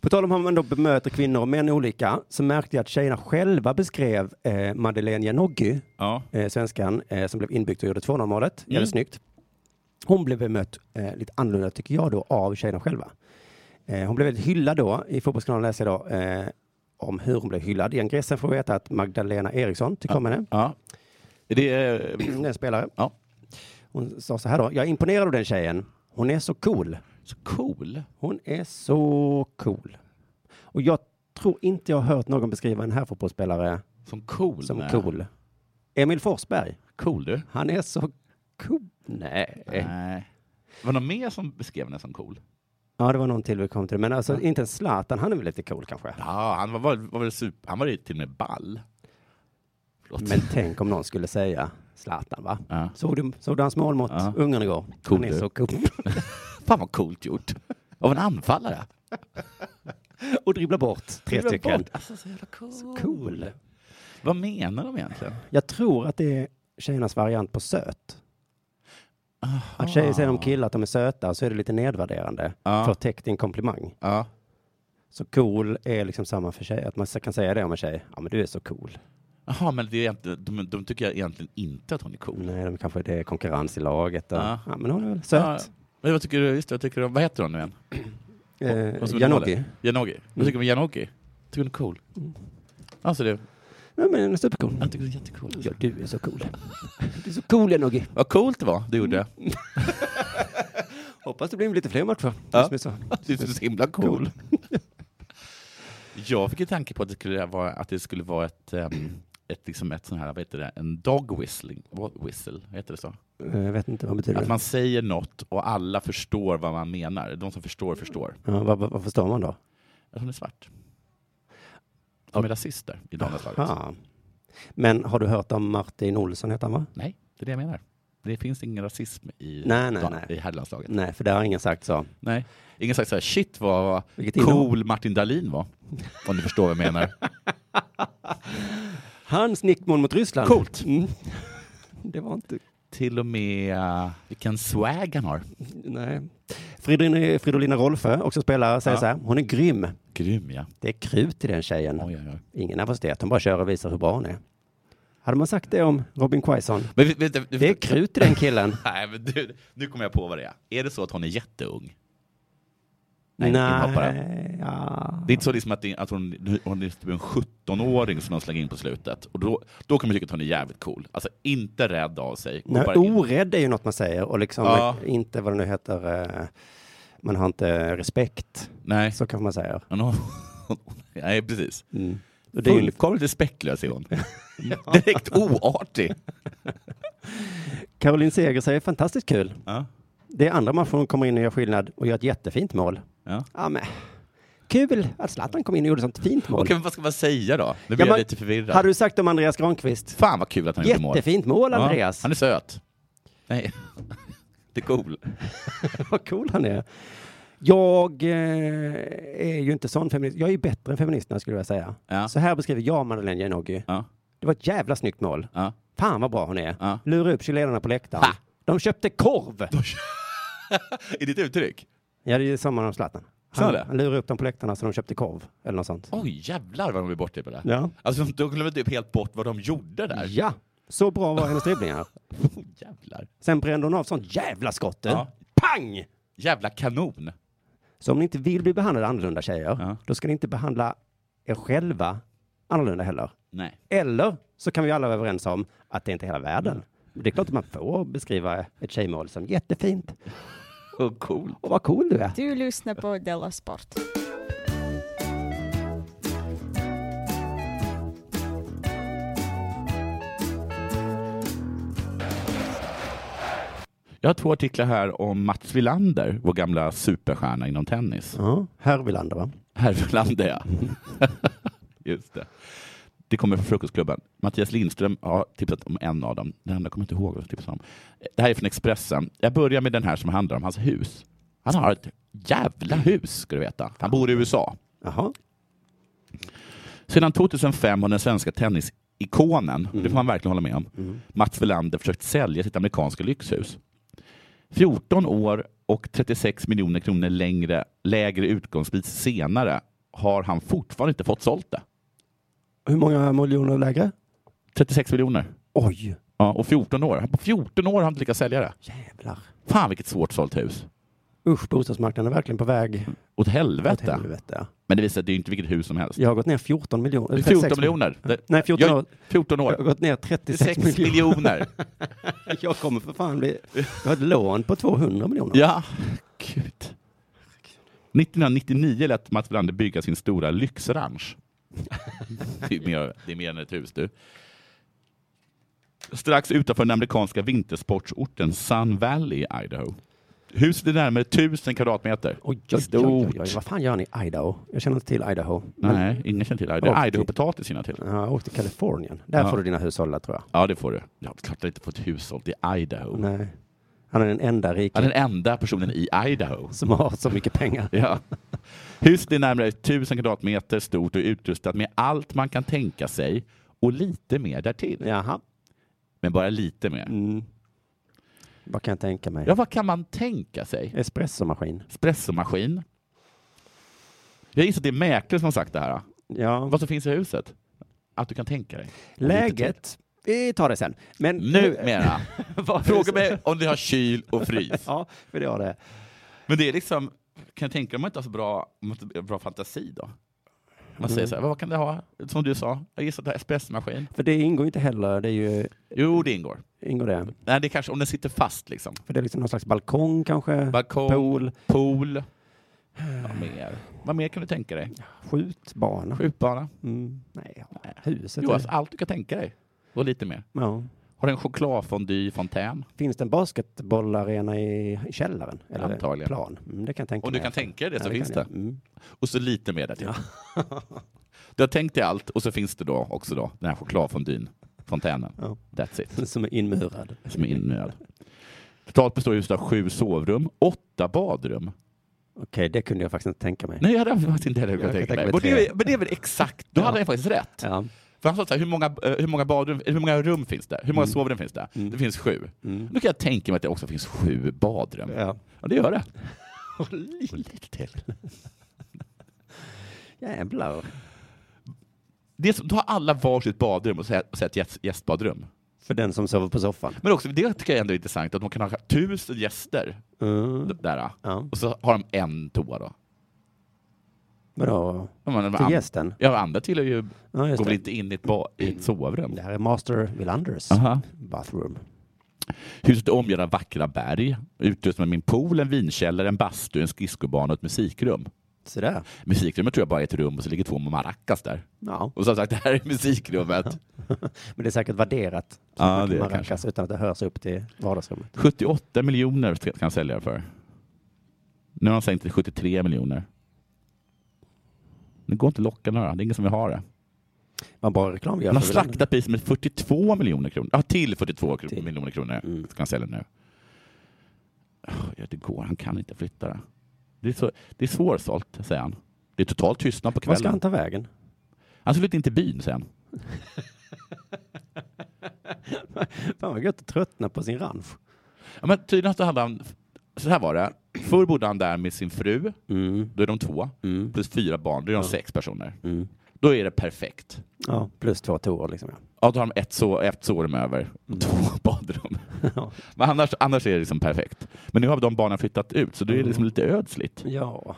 På tal om hur man då bemöter kvinnor och män olika så märkte jag att tjejerna själva beskrev eh, Madeleine Janoggy, Ja. eh, svenskan eh, som blev inbyggd och gjorde 2-0 målet. Mm. Jävligt snyggt. Hon blev bemött eh, lite annorlunda tycker jag då av tjejerna själva. Eh, hon blev väldigt hyllad då. I Fotbollskanalen läser jag då eh, om hur hon blev hyllad. I ingressen får vi veta att Magdalena Eriksson tycker om henne. ja. Det är, Hon är en spelare. Ja. Hon sa så här då. Jag är imponerad av den tjejen. Hon är så cool. så cool. Hon är så cool. Och jag tror inte jag har hört någon beskriva en här fotbollsspelare Som cool. som nej. cool. Emil Forsberg. Cool du. Han är så cool. Nej. Nej. Var det någon mer som beskrev henne som cool? Ja, det var någon till vi kom till. Men alltså, inte ens Zlatan, han är väl lite cool kanske. Ja, han var, var, var väl super, han var ju till och med ball. Förlåt. Men tänk om någon skulle säga Zlatan, va? Ja. Såg, du, såg du hans mål mot Ja. Ungern igår? Cool, han är du. så cool. Fan vad coolt gjort. Av en anfallare. Och dribblar bort tre Glöm stycken. bort. Alltså, så jävla cool. Cool. Vad menar de egentligen? Jag tror att det är tjejernas variant på söt. Att tjejer säger om killar att de är söta så är det lite nedvärderande. Ja. Förtäckt i en komplimang. Ja. Så cool är liksom samma för tjejer. Att man kan säga det om en tjej. Ja, men du är så cool. Jaha, men det är egentligen, de, de tycker jag egentligen inte att hon är cool. Nej, de kanske det är konkurrens i laget. Och, Ja. ja. men hon är väl Ja, söt. men vad tycker du? Just det, vad tycker du om, vad heter hon nu igen? Eh, Hon som är Janogy. målet. Janogy. Vad tycker du om Janogy? Mm. Tycker du hon är cool? Alltså det, Ja, men den är supercool. jag tycker hon är jättecool. Ja, du är så cool. Du är så cool, Janogy. Vad coolt det var du gjorde. Hoppas det blir lite fler matcher. Ja. Du som är så. Du är så himla cool. jag fick en tanke på att det skulle vara, att det skulle vara ett, ehm, ett, liksom ett sån här, vad heter det, en dog whistling, Vad- whistle, heter det så? Eh, Jag vet inte, vad betyder Att det? man säger något och alla förstår vad man menar. De som förstår, förstår. Ja, vad, vad, vad förstår man då? Att hon är svart. De är rasister i damlandslaget. Aha. Men har du hört om Martin Olsson, heter han va? Nej, det är det jag menar. Det finns ingen rasism i, Nej, nej, da- nej. i herrlandslaget. Nej, för det har ingen sagt så. Nej. Ingen sagt så här, shit vad Vilket innehåll. cool Martin Dahlin var. Om du förstår vad jag menar. Hans nickmål mot Ryssland. Coolt. Mm. Det var inte... Till och med eh, vilken swag han har. Nej. Fridolina, Fridolina Rolfö, också spelare, säger Ja. så här. Hon är grym. Grym ja. Det är krut i den tjejen. Oj, oj, oj. Ingen nervositet. Hon bara kör och visar hur bra hon är. Hade man sagt det om Robin Quaison? Men, vi- vänta, Det är vänta. krut i den killen. Nej, men du, nu kommer jag på vad det är. Är det så att hon är jätteung? Nej, inhoppare. Nej. Ja. Det är inte så liksom att, det, att hon, hon är typ en 17-åring som de slänger in på slutet. Och då, då kan man tycka att hon är jävligt cool. Alltså inte rädd av sig. Går Nej, bara in. orädd är ju något man säger och liksom Ja. inte vad det nu heter. eh, Man har inte respekt. Nej. Så kanske man säger. Men hon, nej, precis. Och det är ju, Fullkomligt respektlös är hon. Direkt oartig. Caroline Seger säger fantastiskt kul. Ja. Det är andra matchen hon kommer in och gör skillnad och gör ett jättefint mål. Ja. Ja, men. Kul att Zlatan kom in och gjorde sånt fint mål. Okej, men vad ska man säga då? Nu Ja, blir jag men lite förvirrad. Hade du sagt om Andreas Granqvist? Fan vad kul att han gjorde mål. Jättefint mål Ja, Andreas. Han är söt. Nej. Det är cool. Vad cool han är. Jag eh, är ju inte sån feminist. Jag är ju bättre än feministerna skulle jag säga. Ja. Så här beskriver jag Madeleine Janogy. Ja. Det var ett jävla snyggt mål. Ja. Fan vad bra hon är. Ja. Lura upp chilenarna på läktaren. Ha! De köpte korv! Är ditt uttryck? Ja, det är samma som Zlatan. Så är Han, det? han lurade upp dem på läktarna så de köpte korv eller något sånt. Oj, jävlar vad de blev borttippade. Ja. Alltså, de glömde typ helt bort vad de gjorde där. Ja, så bra var hennes dribblingar. Oh, jävlar. Sen brände hon av sånt jävla skott. eh. Ja. Pang! Jävla kanon. Så om ni inte vill bli behandlade annorlunda tjejer, Ja. då ska ni inte behandla er själva annorlunda heller. Nej. Eller så kan vi alla vara överens om att det inte är hela världen. Det är klart att man får beskriva ett tjejmål som jättefint. Oh, cool. Och vad cool du är. Du lyssnar på Della Sport. Jag har två artiklar här om Mats Wilander, vår gamla superstjärna inom tennis. Ja, här vill andra va? Herr Wilander, ja. Just det. Det kommer från Frukostklubben. Mattias Lindström har tipsat om en av dem. Den andra kommer jag inte ihåg vad jag tipsade om. Det här är från Expressen. Jag börjar med den här som handlar om hans hus. Han har ett jävla hus, ska du veta. Han bor i USA. Jaha. Sedan 2005 har den svenska tennisikonen, det får man verkligen hålla med om, Mats Wilander försökt sälja sitt amerikanska lyxhus. 14 år och 36 miljoner kronor längre, lägre utgångspris senare har han fortfarande inte fått sålt det. Hur många miljoner lägre? 36 miljoner. Oj, Ja, och 14 år. På 14 år har han inte lyckats sälja det. jävlar. Fan vilket svårt sålt hus. Usch, bostadsmarknaden är verkligen på väg Åt åt helvete. helvete. Men det visar sig att det är inte vilket hus som helst. Jag har gått ner 14 miljoner. eller 14 36 miljoner. Det- Nej, 14 Jag- år. 14 Jag har år. gått ner 36 6 miljoner. miljoner. Jag kommer för fan bli... Jag har ett lån på 200 miljoner. Ja, gud. 1999 lät Mats Wilander bygga sin stora lyxranch. det, är mer, det är mer än ett hus du. Strax utanför den amerikanska vintersportsorten Sun Valley, Idaho. Huset är närmare 1000 kvadratmeter. Oj, oj, oj, oj, oj, vad fan gör ni i Idaho? Jag känner inte till Idaho. Men, Nej, ingen känner till Idaho. Åkte- Idaho-potatis känner jag till. Ja, jag åkte till Kalifornien. Där Ja. får du dina hushåll tror jag. Ja, det får du. Ja, klart att jag inte får ett hus sålt i Idaho. Nej. Han är den enda rika Han är den enda personen i Idaho. som har så mycket pengar. Ja. Huset är närmare 1000 kvadratmeter stort och utrustat med allt man kan tänka sig och lite mer därtill. Jaha. Men bara lite mer. Mm. Vad kan jag tänka mig? Ja, vad kan man tänka sig? Espressomaskin. Espressomaskin? Jag gissar att det är mäklare som har sagt det här. Ja. Vad som finns i huset? Att du kan tänka dig. Och lite Läget? Vi tar det sen. Men till. Numera. Vad- Fråga mig om du har kyl och frys. Ja, för det har det. Men det är liksom, kan jag tänka mig om man inte har så bra, om man inte har bra fantasi då? Man Mm. säger så här, vad kan det ha? Som du sa, jag gissar att det är espressomaskin. För det ingår ju inte heller. Det är ju... Jo, det ingår. Ingår det? Nej, det är kanske om den sitter fast liksom. För det är liksom någon slags balkong kanske? Balkong, pool. Ah, Pool? Vad mer? Vad mer kan du tänka dig? Skjutbana? Skjutbana? Mm. Nej, ja. huset. Jo, är- alltså, allt du kan tänka dig. Och lite mer. ja. Har du en chokladfondyfontän? Finns det en basketbollarena i i källaren? Eller Antagligen. plan? Mm, det kan jag tänka Om du mig. kan tänka dig det Ja, så finns kan det. jag. Mm. Och så lite mer därtill. du har tänkt dig allt och så finns det då också då den här chokladfondyn, fontänen. Ja. That's it. Som är inmurad. Som är inöd. Totalt består huset av sju sovrum, åtta badrum. Okej, det kunde jag faktiskt inte tänka mig. Nej, jag hade faktiskt inte heller Jag kunnat kan tänka mig. tänka Men mig det, tre. är- men det är väl exakt, då Ja. hade jag faktiskt rätt. Ja. För han sa så här, hur många, eh, hur många badrum, hur många rum finns det? Hur många sovrum finns det? Mm. Det finns sju. Då kan jag tänka mig att det också finns sju badrum. Ja, Ja. det gör det. Och lite till. Jävlar. Det är som, då har alla varsitt badrum och så här- och så här ett gäst, gästbadrum. För den som sover på soffan. Men också, det tycker jag ändå är intressant, att de kan ha tusen gäster Mm. där. Ja. Och så har de en toa då. Vadå? Ja, men de Till an- gästen? Ja, andra tillhör ju, Ja, just går väl det. inte in i ett, ba, i ett sovrum. Det här är Master Willanders Aha. bathroom. Huset är omgärdat av vackra berg, utrustat med min pool, en vinkällare, en bastu, en skridskobana och ett musikrum. Så där. Musikrummet tror jag bara är ett rum och så ligger två maracas där. Ja. Och som sagt, det här är musikrummet. Men det är säkert värderat. Så Ja, man det är kan det kanske. rankas utan att det hörs upp till vardagsrummet. 78 miljoner kan han sälja för. Nu har han sänkt till 73 miljoner. Det går inte att locka några, det är ingen som vill ha det. Vad bra reklam vi gör Han har för Willander. slaktat priset med 42 miljoner kronor. Ja, till 42 kro- Till. miljoner kronor Mm. ska han sälja nu. Ja, det går, han kan inte flytta det. Det är, så, det är svårsålt, säger han. Det är total tystnad på Var ska kvällen. han ta vägen? Han skulle inte till byn, säger han. Fan vad gött att tröttna på sin ranch. Ja, men tydligen så hade han... Så här var det. Förr bodde han där med sin fru. Mm. Då är de två. Plus fyra barn. Då är de sex personer. Mm. Då är det perfekt. Ja, plus två toor liksom. Ja, då har de ett, so ett sovrum över och två badrum. Ja. Men annars, annars är det liksom perfekt. Men nu har de barnen flyttat ut, så det är liksom lite ödsligt. ja.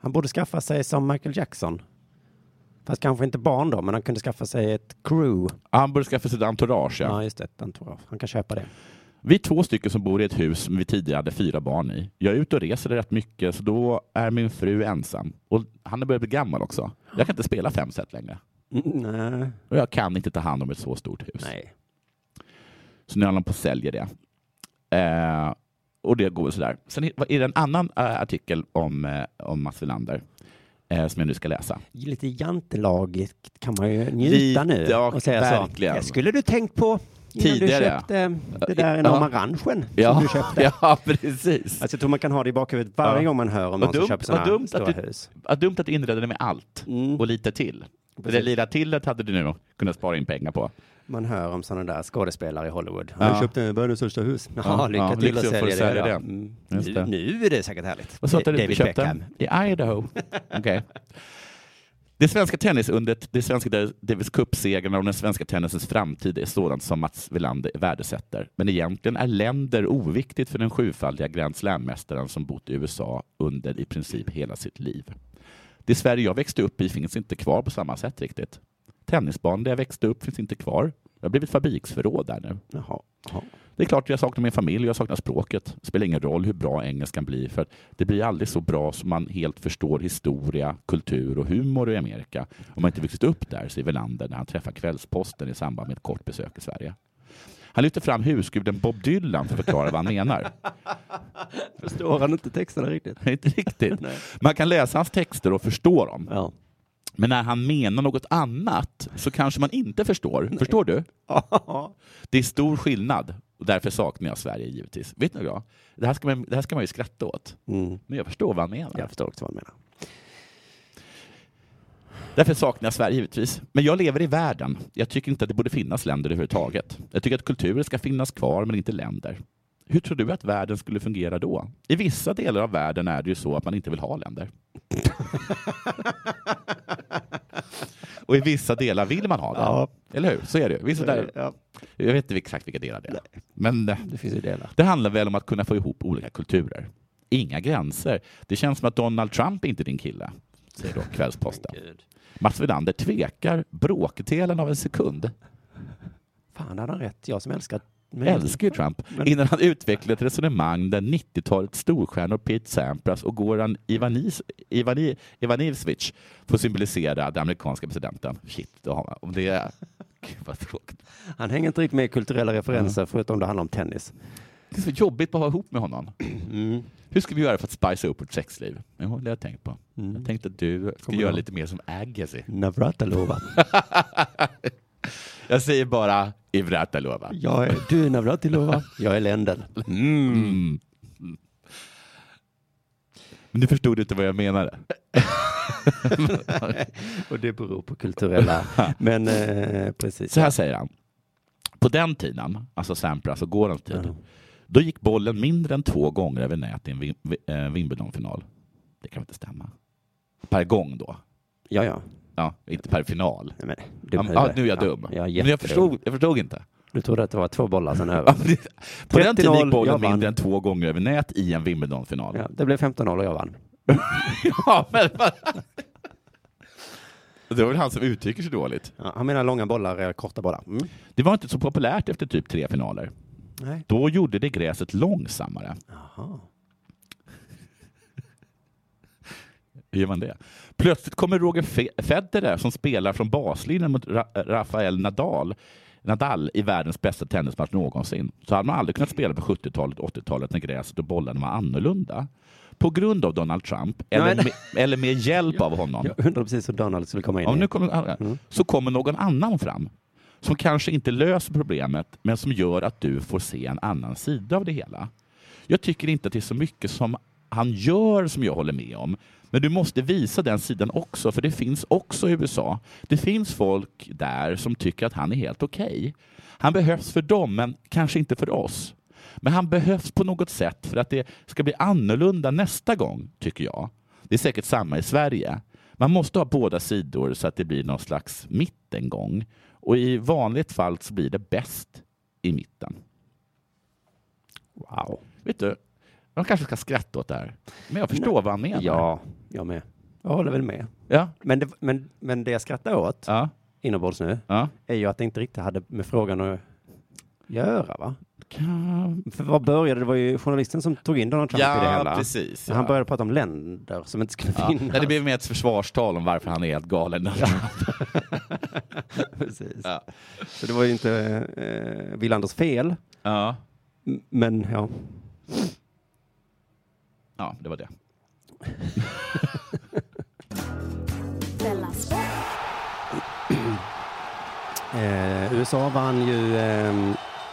Han borde skaffa sig som Michael Jackson. Fast kanske inte barn då, men han kunde skaffa sig ett crew. Han borde skaffa sig ett entourage. Ja, Ja. just det. ett entourage. Han kan köpa det. Vi är två stycken som bor i ett hus som vi tidigare hade fyra barn i. Jag är ute och reser rätt mycket, så då är min fru ensam. Och han har börjat bli gammal också. Jag kan inte spela fem set längre. nej. Och jag kan inte ta hand om ett så stort hus. nej. Så nu håller han på och säljer det. Eh, och det går sådär. Sen är är det en annan eh, artikel om, eh, om Mats Wilander eh, som jag nu ska läsa. Lite jantelagigt kan man ju Lite, njuta nu ja, och säga verkligen. så. Det skulle du tänkt på innan Tidigare. du köpte det där enorma ranchen som du köpte. ja precis. Alltså, jag tror man kan ha det i bakhuvudet varje Ja. gång man hör om Vad någon som dumt- köper vad dumt sådana att stora du- hus. Vad dumt att du inredde det med allt Mm. och lite till. Precis. Det lilla tillet hade du nu kunnat spara in pengar på. Man hör om sådana där skådespelare i Hollywood. Han Ja. köpte världens största hus. Ja, Jaha, lycka ja, till att lycka till sälja för det. att sälja ja. det. Mm. Just Nu, det. nu är det säkert härligt. Vad sa du att du David köpte? Beckham. I Idaho. Okej. Det svenska tennisundret, det svenska Davis Cup-segrarna och den svenska tennisens framtid är sådant som Mats Wilander värdesätter. Men egentligen är länder oviktigt för den sjufaldiga Grand Slam-mästaren som bott i USA under i princip hela sitt liv. Det Sverige jag växte upp i finns inte kvar på samma sätt riktigt. Tennisbanan där jag växte upp finns inte kvar. Jag har blivit fabriksförråd där nu. Jaha. Jaha. Det är klart jag saknar min familj och jag saknar språket. Det spelar ingen roll hur bra engelskan blir för att det blir aldrig så bra som man helt förstår historia, kultur och humor i Amerika om man inte vuxit upp där, säger Welander när han träffar Kvällsposten i samband med ett kort besök i Sverige. Han lyfter fram husguden Bob Dylan för att förklara vad han menar. Förstår han inte texterna riktigt? Inte riktigt. Man kan läsa hans texter och förstå dem. Ja. Men när han menar något annat så kanske man inte förstår. Förstår du? Det är stor skillnad och därför saknar jag Sverige givetvis. Vet ni vad? Det här ska man, det här ska man ju skratta åt. Mm. Men jag förstår vad han menar. Jag förstår också vad han menar. Därför saknar jag Sverige givetvis. Men jag lever i världen. Jag tycker inte att det borde finnas länder överhuvudtaget. Jag tycker att kulturer ska finnas kvar, men inte länder. Hur tror du att världen skulle fungera då? I vissa delar av världen är det ju så att man inte vill ha länder. Och i vissa delar vill man ha det. Ja. Eller hur? Så är det ju. Vissa där, Ja, jag vet inte exakt vilka delar det är. Men eh, det finns ju delar. det handlar väl om att kunna få ihop olika kulturer. Inga gränser. Det känns som att Donald Trump inte är din kille, säger då Kvällsposten. Mats Wilander tvekar bråkdelen av en sekund. Fan, hade han rätt? Jag som älskar... Men... Älskar ju Trump. Innan han utvecklar ett resonemang där 90-talets storstjärnor Pete Sampras och Goran Ivanis, Ivani, Ivanisevic får symbolisera den amerikanska presidenten. Shit, då har man. Om det är... Gud vad tråkigt. Han hänger inte riktigt med i kulturella referenser förutom det handlar om tennis. Det är så jobbigt att ha ihop med honom. Hur ska vi göra för att spicea upp vårt sexliv? Jo, det har jag tänkt på. Jag tänkte att du ska Kommer göra jag. lite mer som Agassi. Navratilova. Jag säger bara Ivratilova. Jag är, du är Navratilova, jag är Lendl. Mm. Men du förstod inte vad jag menade? Och det beror på kulturella... Men eh, precis. Så här säger han. På den tiden, alltså Sampras och Gorans tid, Ja. då gick bollen mindre än två gånger över nät i en Wim- Wi- eh, Wimbledon-final. Det kan väl inte stämma? Per gång då? Ja, ja. Ja, inte per final. Nej, men, Ja, dum men- huvud. ja, nu är jag dum. Ja, Men jag förstod, jag förstod inte. Du trodde att det var två bollar sen Ja, över. men det- På den tiden 30-0, gick bollen jag vann. mindre än två gånger över nät i en Wimbledon-final. Ja, det blev 15-0 och jag vann. Ja, men vad- Det var väl han som uttrycker sig dåligt. Ja, han menar långa bollar, eh, korta bollar. Mm. Det var inte så populärt efter typ tre finaler. Nej. Då gjorde det gräset långsammare. Jaha. Hur gör man det? Plötsligt kommer Roger Fe- Federer som spelar från baslinjen mot Ra- Rafael Nadal, Nadal i världens bästa tennismatch någonsin. Så hade man aldrig kunnat spela på 70-talet och 80-talet när gräset och bollarna var annorlunda. På grund av Donald Trump, eller, Nej, nej. med, eller med hjälp av honom, Jag undrar precis hur Donald skulle komma in ja, i. Mm. nu kommer, så kommer någon annan fram som kanske inte löser problemet, men som gör att du får se en annan sida av det hela. Jag tycker inte att det är så mycket som han gör som jag håller med om. Men du måste visa den sidan också, för det finns också i USA. Det finns folk där som tycker att han är helt okej. Han behövs för dem, men kanske inte för oss. Men han behövs på något sätt för att det ska bli annorlunda nästa gång, tycker jag. Det är säkert samma i Sverige. Man måste ha båda sidor så att det blir någon slags mitt en gång. Och i vanligt fall så blir det bäst i mitten. Wow. Vet du, man kanske ska skratta åt det här. Men jag förstår vad han menar. Ja, jag med. Jag håller väl med. Ja. Men det, men, men det jag skrattar åt Ja. inombords nu Ja. är ju att det inte riktigt hade med frågan att göra, va? Kan- För vad började, det var ju journalisten som tog in Donald Trump i det hela. ja precis. Ja. Han började prata om länder som inte skulle Ja. finnas. Nej, Det blev mer ett försvarstal om varför han är helt galen. Precis. Ja. Så det var ju inte eh, Willanders fel, Ja. m- men ja. ja, det var det. Eh, USA vann ju eh,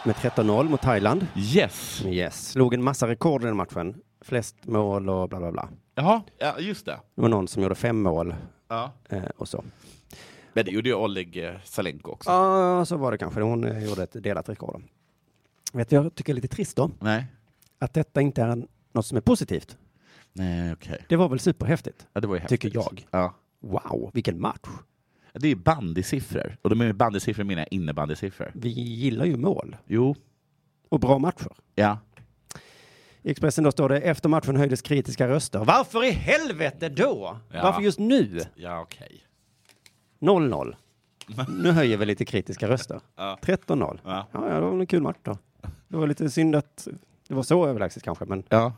med 13-0 mot Thailand. Yes. Yes. Slog en massa rekord i den matchen. Flest mål och bla bla bla. Jaha, ja, just det. Det var någon som gjorde fem mål Ja. eh, och så. Men det gjorde ju Oleg eh, Salenko också. Ja, så var det kanske. Hon eh, gjorde ett delat rekord. Vet du, jag tycker är lite trist då, Nej. att detta inte är en, något som är positivt. Nej, okej. Det var väl superhäftigt, Ja, det var ju häftigt. tycker jag. Ja. Wow, vilken match. Det är bandysiffror. Och de är bandysiffror menar jag innebandysiffror. Vi gillar ju mål Jo. och bra matcher. Ja. I Expressen då står det efter matchen höjdes kritiska röster. Varför i helvete då? Ja. Varför just nu? Ja, okej. 0-0. Nu höjer vi lite kritiska röster. Ja. 13-0. Ja. Ja. ja, det var väl en kul match då. Det var lite synd att det var så överlägset kanske, men Ja.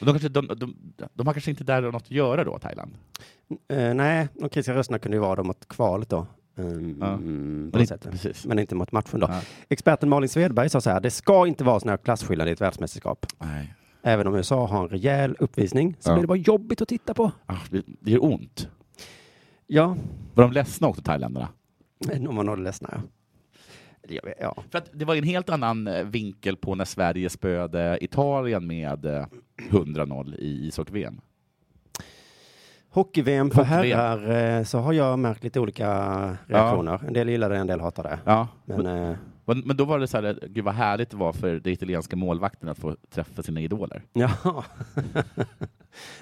Men De, kanske, de, de, de har kanske inte där något att göra då, Thailand? eh, nej, de kritiska rösterna kunde ju vara då mot kvalet då. Mm, Ja. på Men det inte- sättet. precis. Men inte mot matchen då. Ja. Experten Malin Svedberg sa så här, det ska inte vara sån här klasskillnad i ett världsmästerskap. Nej. Även om USA har en rejäl uppvisning så Ja. blir det bara jobbigt att titta på. Ah, det, det gör ont. Ja, Var de ledsna också, thailändarna? om man håller ledsna. Ja. Jag vet- Ja. För att det var en helt annan eh, vinkel på när Sverige spöade Italien med eh, 100-0 i ishockey-VM. Hockey-VM för Hockey-VM. herrar eh, så har jag märkt lite olika reaktioner. En del gillar det, en del hatar det. Ja. Men eh, Men, men då var det så här, eh, gud vad härligt det var för det italienska målvakten att få träffa sina idoler. ja.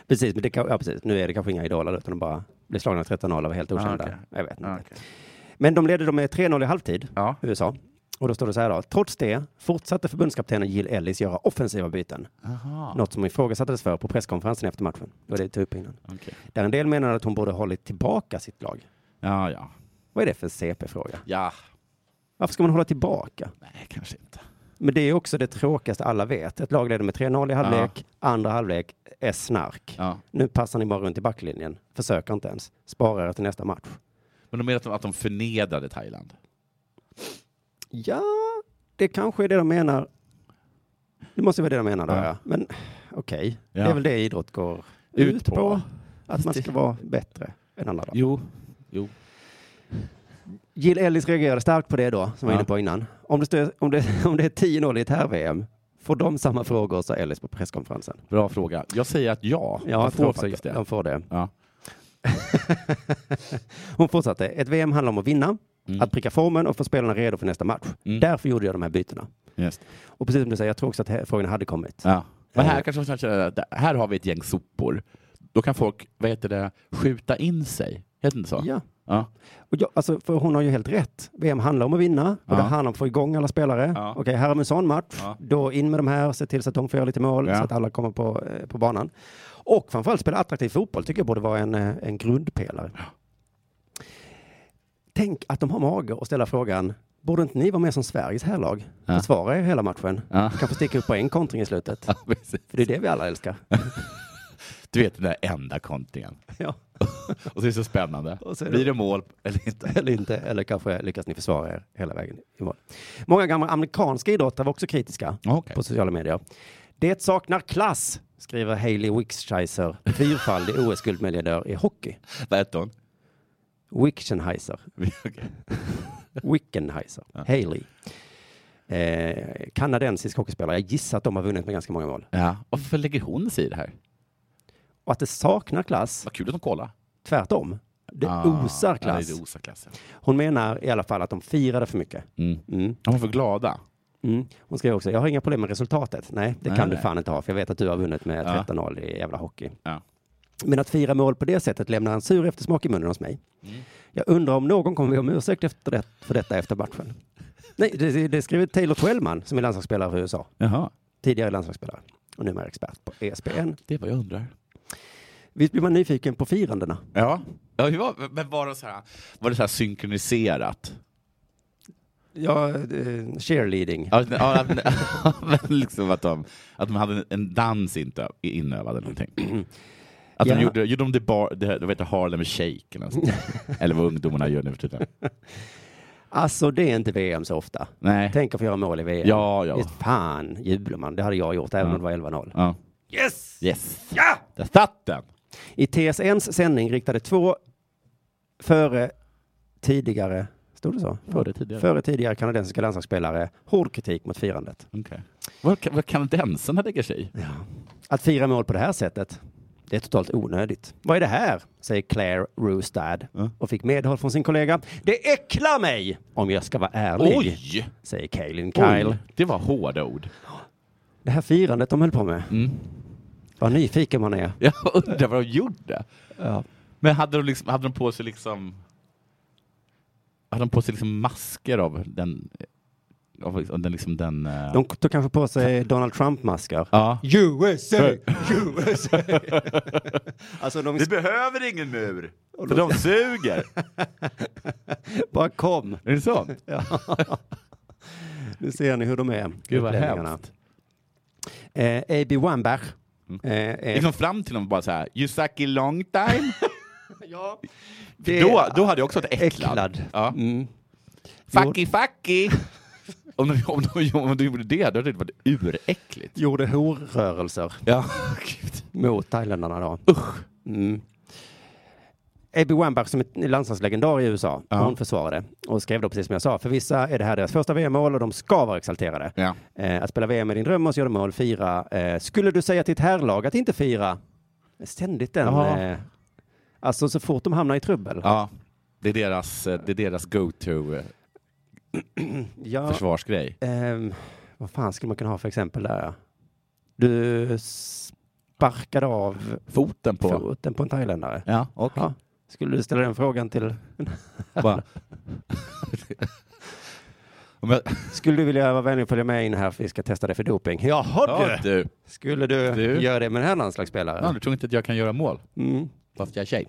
precis, men det kan, ja, precis, nu är det kanske inga idoler utan de bara blir slagna 13-0 av helt Ah, okända. okej. Ah. Jag vet inte. Ja, okej. Men de ledde dem med 3-0 i halvtid, Ja. USA. Och då står det så här då. Trots det fortsatte förbundskaptenen Jill Ellis göra offensiva byten. Aha. Något som ifrågasattes för på presskonferensen efter matchen. Det var det jag tog upp innan. Okej. Där en del menade att hon borde ha hållit tillbaka sitt lag. Ja, ja. Vad är det för CP-fråga? Ja, Varför ska man hålla tillbaka? nej kanske inte. Men det är också det tråkigaste alla vet. Ett lag leder med 3-0 i halvlek, andra halvlek är snark. Ja. Nu passar ni bara runt i backlinjen, försöker inte ens, sparar er till nästa match. Men de menar att de, att de förnedrade Thailand. Ja, det kanske är det de menar. Det måste vara det de menar då, Ja. ja. Men okej, Ja. det är väl det idrott går Ut ut, på. på. Att man ska vara bättre än andra. Då. Jo. jo. Jill Ellis reagerade starkt på det då, som jag var Ja. inne på innan. Om det, stö- om det, om det är 10-0 i ett herr-VM, får de samma frågor, sa Ellis på presskonferensen. Bra fråga. Jag säger att ja. Ja, de jag får tror också faktiskt det. de får det. Ja. Hon fortsatte. Ett VM handlar om att vinna, Mm. att pricka formen och få spelarna redo för nästa match. Mm. Därför gjorde jag de här bytena. Just. Och precis som du säger, jag tror också att här- frågan hade kommit. Ja. Men här Eh. kanske man känner att här har vi ett gäng sopor. Då kan folk, vad heter det, skjuta in sig. Heter det inte så? Ja. Ja. Och jag, alltså, för hon har ju helt rätt. VM handlar om att vinna och Ja. det handlar om att få igång alla spelare. Ja. Okej, här har vi en sån match. Ja. Då in med de här, se till så att de får göra lite mål, Ja. så att alla kommer på, eh, på banan. Och framförallt spela attraktiv fotboll tycker jag borde vara en, eh, en grundpelare. Tänk att de har mage att ställa frågan, borde inte ni vara med som Sveriges härlag? Ja. Försvara er hela matchen. Ja. Kanske sticka upp på en kontring i slutet. Ja, precis. För det är det vi alla älskar. Du vet den där enda kontingen. ja. Och så är det så spännande. Och så är det- Blir det mål eller inte? Eller inte, eller kanske lyckas ni försvara er hela vägen i mål. Många gamla amerikanska idrottare var också kritiska. Okej. på sociala medier. Det saknar klass, skriver Hailey Wickscheiser, fyrfaldig OS-guldmedaljör i hockey. Vad hette hon? Wickschenheiser. Okej. Wickenheiser. Hailey. Eh, kanadensisk hockeyspelare. Jag gissar att de har vunnit med ganska många mål. Ja. Varför lägger hon sig i det här? Och att det saknar klass, Vad kul att de kollar. tvärtom. Det Ah, osar ja, klass. det är osar klass. ja. Hon menar i alla fall att de firade för mycket. Mm. Mm. De var för glada. Mm. Hon skriver också, jag har inga problem med resultatet. Nej, det Nej, kan du nej. fan inte ha, för jag vet att du har vunnit med Ja. 13-0 i jävla hockey. Ja. Men att fira mål på det sättet lämnar en sur eftersmak i munnen hos mig. Mm. Jag undrar om någon kommer be om ursäkt efter det, för detta efter matchen. Nej, det, det skriver Taylor Twellman, som är landslagsspelare för USA. Jaha, Tidigare landslagsspelare och numera expert på E ESPN. det är vad jag undrar. Visst blir man nyfiken på firandena? Ja. ja hur var, men var det så här, var det så här synkroniserat? Ja, eh, cheerleading. Ja, men- ja, men- ja, men liksom att, de, att de hade en dans inte inövad eller någonting. Att Ja. de gjorde, gjorde de det bar, det, det heter Harlem Shake eller något sånt där. Eller vad ungdomarna gör nu för tiden. Alltså, det är inte VM så ofta. Nej. Tänk att få göra mål i VM. Ja, ja. Visst fan Juleman, det hade jag gjort även om det var 11-0. ja. Yes! Yes. Ja! Där satt den! I TSNs sändning riktade två före tidigare, stod det så? Före tidigare. Före tidigare kanadensiska landslagsspelare hård kritik mot firandet. Okej. Vad kan- Vad kanadensarna lägger sig i? Att fira mål på det här sättet, det är totalt onödigt. Vad är det här? Säger Claire Roustad och fick medhåll från sin kollega. Det äcklar mig! Om jag ska vara ärlig, Oj! säger Kaelin Kyle. Oj, Det var hårda ord. Det här firandet de höll på med. Vad nyfiken man är. Jag undrar vad de gjorde. Men hade de, liksom, hade de på sig liksom... Hade de på sig liksom masker av den... Av liksom- av den, liksom den eh, De tog kanske på sig Donald Trump-maskar. Ja. USA! USA! alltså de behöver ingen mur, för de suger. bara kom. Är det så? Nu ser ni hur de är. Gud, vad utlänningarna. hemskt. Eh, A.B. Wambach. Eh, eh, Liksom fram till dem bara så här, you suck a long time. ja, då, då hade jag också varit äcklad. äcklad. Ja. Mm. Fucky fucky! om, de, om, de, om de gjorde det, då hade det varit uräckligt. Gjorde horrörelser Ja, gud. mot thailändarna då. Usch. Mm. A.B. Wambach som är landslagslegendar i USA, Ja. hon försvarade och skrev då precis som jag sa, för vissa är det här deras första VM-mål och de ska vara exalterade. Ja. Eh, att spela VM är din dröm och så gör du mål, fira. Eh, skulle du säga till ett herrlag att inte fira? Ständigt den. Ja. Eh, alltså så fort de hamnar i trubbel. ja. Det är deras, eh, det är deras eh, go-to-försvarsgrej. Ja, ehm, vad fan skulle man kunna ha för exempel där? ja? Du sparkade av Foten på... foten på en thailändare. Ja, och Ja. Skulle du ställa den frågan till, bara... Om jag... skulle du vilja vara vänlig och följa med in här för vi ska testa dig för doping? Jaha Ja, du! du. Skulle du, Du. göra det med den här landslagsspelaren? Ja, du tror inte att jag kan göra mål? Mm. Bara för att jag är tjej?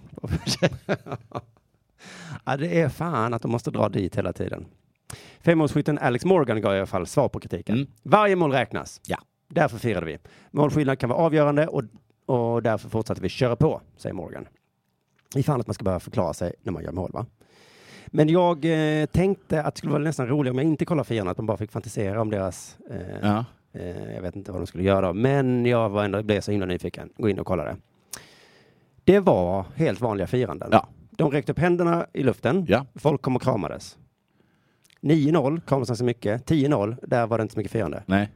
ja, det är fan att de måste dra dit hela tiden. Femmålsskytten Alex Morgan gav i alla fall svar på kritiken. Mm. Varje mål räknas. Ja. Därför firade vi. Målskillnad kan vara avgörande och, och därför fortsatte vi köra på, säger Morgan. I fan att man ska behöva förklara sig när man gör mål, va? Men jag eh, tänkte att det skulle vara nästan roligt om jag inte kollar firarna, att man bara fick fantisera om deras... Eh, Ja. eh, jag vet inte vad de skulle göra, men jag var ändå, blev så himla nyfiken. Gå in och kolla det. Det var helt vanliga firanden. Ja. De räckte upp händerna i luften. Ja. Folk kom och kramades. 9-0 kramades inte så mycket. 10-0, där var det inte så mycket firande. Nej.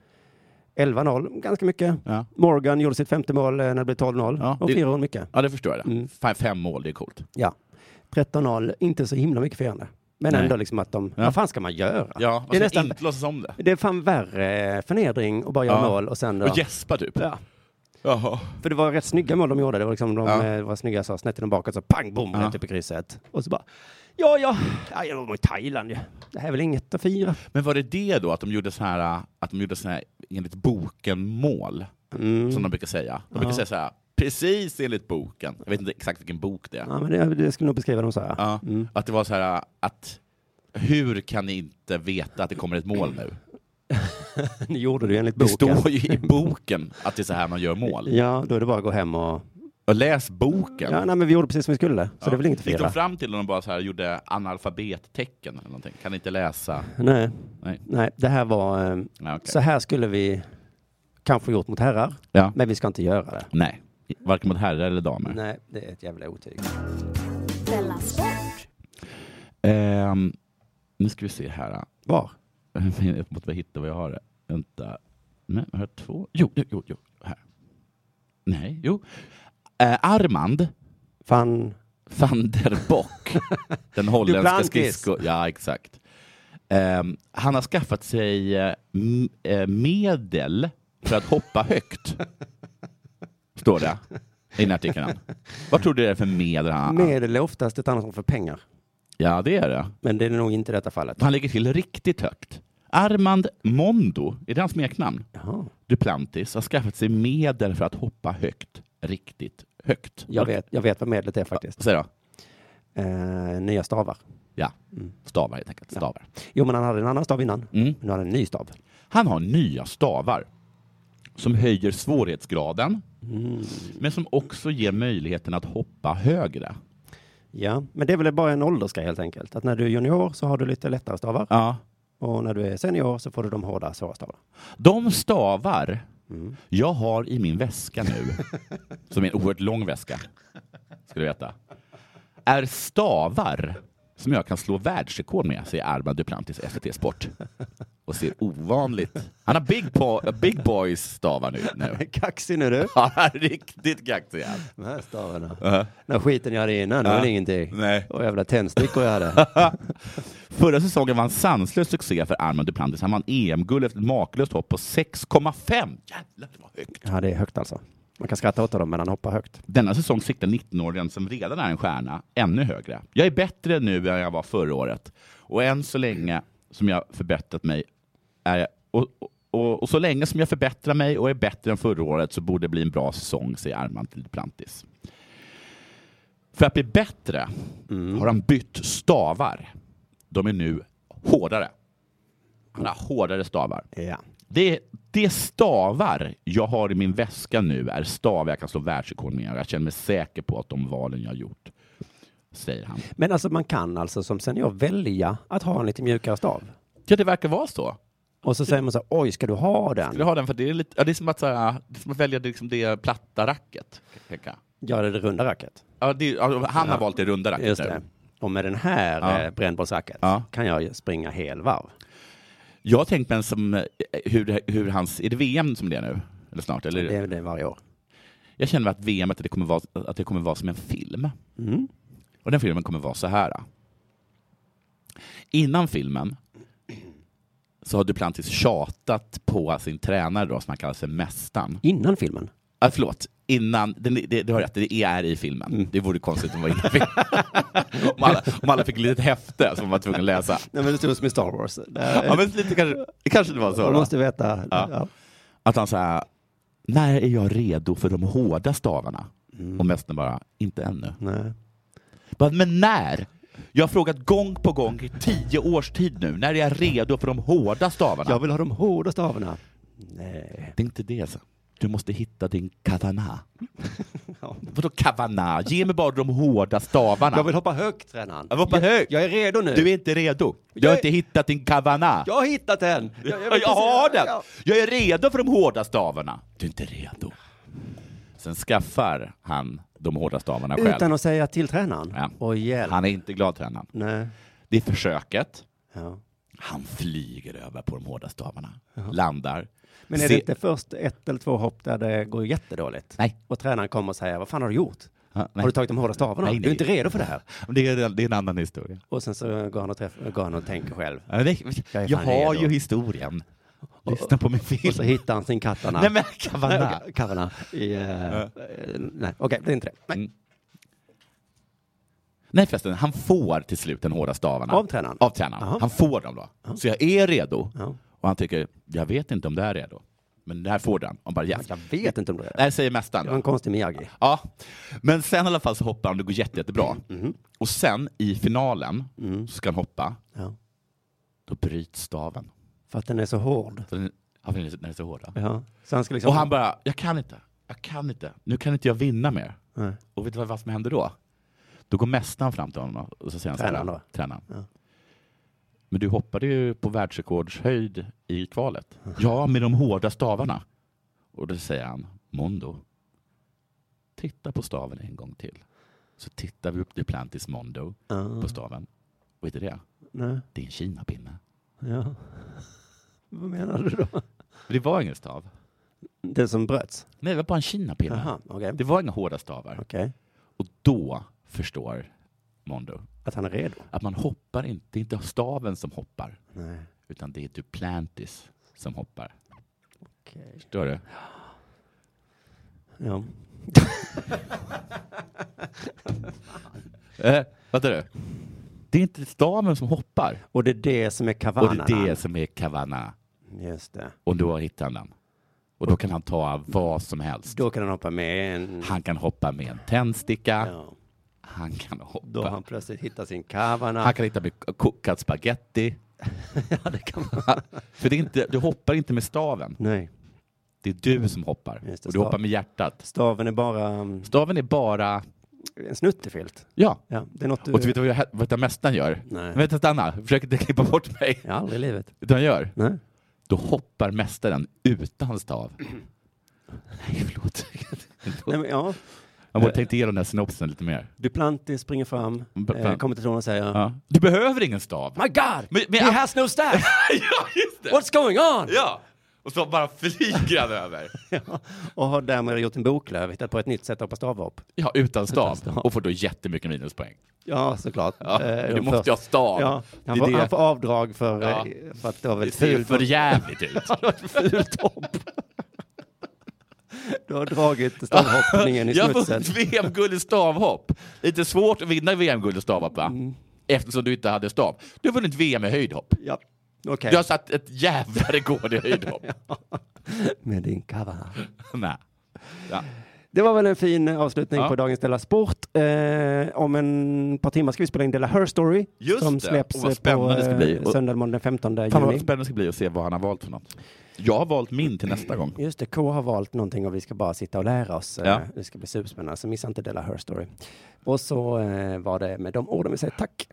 11-0, ganska mycket. Ja. Morgan gjorde sitt femte mål eh, när det blev 12-0. Ja, och det- firade hon mycket. Ja, det förstår jag. Mm. Fan, fem mål, det är coolt. Ja. 13-0, inte så himla mycket firande. Men Nej. ändå liksom att de, Ja. vad fan ska man göra? Ja, man det, ska är nästan, inte låtsas om det. det är fan värre eh, förnedring att bara göra Ja. mål och sen då... Och gäspa typ. Ja. Jaha. För det var rätt snygga mål de gjorde. Det var liksom de Ja. eh, var snygga så snett i den bakåt så pang bom Ja. rätt upp i krysset. Och så bara ja, ja, ja, jag var i Thailand ju. Det här är väl inget att fira. Men var det det då, att de gjorde så här, äh, att de gjorde så här enligt boken-mål, Mm. som de brukar säga? De brukar Ja. säga så här, precis enligt boken. Jag vet inte exakt vilken bok det är. Ja, men det, det skulle nog beskriva dem så här. Ja. Mm. Att det var så här, äh, att hur kan ni inte veta att det kommer ett mål nu? Ni gjorde det ju enligt Det boken. står ju i boken att det är så här man gör mål. Ja, då är det bara att gå hem och... Och läs boken. Ja, nej, men vi gjorde precis som vi skulle. Så Ja. det är väl inget att Gick de fira. fram till och de bara så här gjorde analfabettecken eller någonting? Kan inte läsa? Nej. Nej. nej, det här var... eh, Ja, okej. Så här skulle vi kanske gjort mot herrar, Ja. men vi ska inte göra det. Nej. Varken mot herrar eller damer. Nej, det är ett jävla otyg. Ehm, nu ska vi se här. Var? Jag måste bara hitta vad jag har. Vänta. Nej, jag har två. Jo, jo, jo. jo. Här. Nej, jo. Eh, Armand Fan. van der Bock. den holländska Duplantis. skridsko... Ja, exakt. Ehm, han har skaffat sig eh, m- eh, medel för att hoppa högt. Står det i den här artikeln. Vad tror du det är för medel han har? Medel är oftast ett annat ord för pengar. Ja, det är det. Men det är nog inte i detta fallet. Han ligger till riktigt högt. Armand Mondo, är det hans smeknamn? Jaha. Duplantis har skaffat sig medel för att hoppa högt, riktigt högt. Jag, vet, jag vet vad medlet är faktiskt. Säg då. Eh, nya stavar. Ja, stavar helt enkelt. Stavar. Jo, men han hade en annan stav innan. Mm. Nu har han en ny stav. Han har nya stavar som höjer svårighetsgraden, Mm. men som också ger möjligheten att hoppa högre. Ja, men det är väl bara en åldersgrej helt enkelt. Att när du är junior så har du lite lättare stavar Ja. och när du är senior så får du de hårda, svåra stavarna. De stavar jag har i min väska nu, som är en oerhört lång väska, ska du veta, är stavar som jag kan slå världsrekord med, säger Armand Duplantis i SVT Sport. Och ser ovanligt... Han har Big, po- big Boys stavar nu. nu. Kaxig nu du. Han är riktigt kaxig. han. De här stavarna. Den här skiten jag hade innan, det var ingenting. Nej. Och jävla tändstickor jag hade. Förra säsongen var en sanslös succé för Armand Duplantis. Han vann EM-guld efter ett makalöst hopp på 6,5. Jävlar, det var högt. ja, det är högt alltså. Man kan skratta åt dem, men han hoppar högt. Denna säsong siktar 19-åringen som redan är en stjärna ännu högre. Jag är bättre nu än jag var förra året. Och än så länge som jag förbättrat mig är jag, och, och, och så länge som jag förbättrar mig och är bättre än förra året så borde det bli en bra säsong, säger Armand till Duplantis. För att bli bättre har han bytt stavar. De är nu hårdare. Han har hårdare stavar. Ja. Det, det stavar jag har i min väska nu är stavar jag kan slå världsrekord med. Jag känner mig säker på att de valen jag gjort, säger han. Men alltså man kan alltså som senior välja att ha en lite mjukare stav. Ja, det verkar vara så. Och så säger man så här, oj, ska du ha den? Jag har den för det är, lite, ja, det är, som, att, så här, det är som att välja det, liksom det platta racket. kan jag tänka. Ja, det är det runda racket. Ja, det, är- ja, han har valt det runda racket Just nu. det. Och med den här Ja. eh, brännbollsracket Ja. kan jag ju springa hel varv. Jag har tänkt på en som, eh, hur, hur hans, är det VM som det är nu? Eller snart? Eller? Det är det varje år. Jag känner att VM att det, kommer vara, att det kommer vara som en film. Mm. Och den filmen kommer vara så här. Innan filmen så har Duplantis tjatat på sin tränare då, som han kallar sig Mästaren. Innan filmen? Ah, förlåt, innan, det, det, du har rätt, det är i filmen. Mm. Det vore konstigt om det var innan filmen. om, alla, om alla fick ett litet häfte som man var tvungen att läsa. Nej, men det stod som i Star Wars. Ja, men lite, kanske, kanske det var så. man då. måste veta. Ja. Ja. Att han säger när är jag redo för de hårda stavarna? Mm. Och Mästaren bara, inte ännu. Nej. Bara, Men när? Jag har frågat gång på gång i tio års tid nu. När är jag redo för de hårda stavarna? Jag vill ha de hårda stavarna. Nej. Det är inte det. alltså. Så. Du måste hitta din kavana. Vadå kavana? Ge mig bara de hårda stavarna. Jag vill hoppa högt, tränaren. Jag vill hoppa högt. Jag är redo nu. Du är inte redo. Du har Jag är- inte hittat din kavana. Jag har hittat den. Jag, vet precis- har den! Ja. Jag är redo för de hårda stavarna. Du är inte redo. Sen skaffar han de hårda stavarna själv. Utan att säga till tränaren. Ja. Och hjälp. Han är inte glad, tränaren. Nej. Det är försöket. Ja. Han flyger över på de hårda stavarna, landar. Men är Se- det inte först ett eller två hopp där det går jättedåligt? Nej. Och tränaren kommer och säger, vad fan har du gjort? Ja, nej. Har du tagit de hårda stavarna? Nej, Du är nej. inte redo för det här. det, är, det är en annan historia. Och sen så går han och, träff- går han och tänker själv. Ja, men det, Jag är jag fan har redo. ju historien. Lyssna på min Och så film. hittar han sin kattarna. Nej men Kavanagh. Nej, Kavana. I, eh, eh, Nej, okej, det är inte det. Nej. Mm. Nej förresten, han får till slut den hårda stavarna. Av tränaren? Av tränaren. Jaha. Han får dem då. Så jag är redo. Ja. Och han tycker, jag vet inte om det här är redo. Men det här får den. Och bara yes. Jag vet inte om det är det. Nej, säger mästaren. Det då. var en konstig Miyagi. Ja, men sen i alla fall så hoppar han och det går jätte, jättebra. Och sen i finalen så ska han hoppa, Ja. då bryts staven. För att den är så hård. För den, ja, för den är så- den är så hård. ja. Ja. Så han ska liksom... Och han bara, jag kan inte, jag kan inte, nu kan inte jag vinna mer. Nej. Och vet du vad, vad som händer då? Då går mästaren fram till honom och så säger han så här, Tränaren då? Tränaren. Ja. Men du hoppade ju på världsrekordshöjd i kvalet. Ja, med de hårda stavarna. Och då säger han, Mondo, titta på staven en gång till. Så tittar vi upp Duplantis Mondo Ja. på staven. Och vet du det? Nej. Det är en kinapinne. Ja. Vad menar du då? Det var ingen stav. Den som bröts? Nej, det var bara en kinapinne. Jaha, okej. Det var inga hårda stavar. Okej. Och då förstår Mondo Att han är redo? att man hoppar inte, det är inte staven som hoppar, Nej. utan det är Duplantis som hoppar. Okej. Förstår du? Ja. Eh, vänta du. Det är inte staven som hoppar, Och det är det som är och kavanarna? det är det som är Kavanagh. Just det. Och då hittar han den. Och då kan han ta vad som helst. Då kan han hoppa med en... Han kan hoppa med en tändsticka, Ja. han kan Då hoppa... har han plötsligt hittat sin kavanagh. Han kan hitta med kokad spaghetti. Ja, det kan man. För det är inte, du hoppar inte med staven, Nej. det är du som hoppar. Just det, och du stav. hoppar med hjärtat. Staven är bara mm, Staven är bara... en snuttefilt. Ja. Ja, det är något du... Och du vet vad, vad mästaren gör? Nej. Vänta, stanna. Försök inte klippa bort mig. Ja, aldrig i livet. Utan han gör. Nej. Då hoppar mästaren utan stav. Nej, förlåt. Nej, men ja. Man borde tänkt igenom den här synopsisen lite mer. Duplantis springer fram, B- eh, kommer till tronen och säger Ja. Du behöver ingen stav. My God! Men- men- He has no staff! ja, just det! What's going on? Ja! Och så bara flyger han över. Och har därmed gjort en boklöv, hittat på ett nytt sätt att hoppa stavhopp. Ja, utan stav. stav. Och får då jättemycket minuspoäng. Ja, såklart. Ja, Eh, du de måste ju ha stav. Ja, han, Det är får, det. han får avdrag för, eh, Ja. för att det var Det väldigt ser ju fult. för jävligt ut. fult hopp. Du har dragit stavhoppningen i Jag har smutsen. vunnit VM-guld i stavhopp. Lite svårt att vinna VM-guld i stavhopp, va? Eftersom du inte hade stav. Du har vunnit VM i höjdhopp. Ja, okej. Du har satt ett jävla rekord i höjdhopp. Med din kavanagh. Nej. Ja. Det var väl en fin avslutning Ja. på dagens Della Sport. Eh, om en par timmar ska vi spela in Della Her Story Just som det. släpps Och vad eh, spännande på det ska bli. eh, söndag morgon den 15 Fan vad juni. spännande det ska bli att se vad han har valt för något. Jag har valt min till nästa gång. Just det, K har valt någonting och vi ska bara sitta och lära oss. Eh, Ja. Det ska bli superspännande, så missa inte Della Her Story. Och så eh, var det med de orden vi säger tack.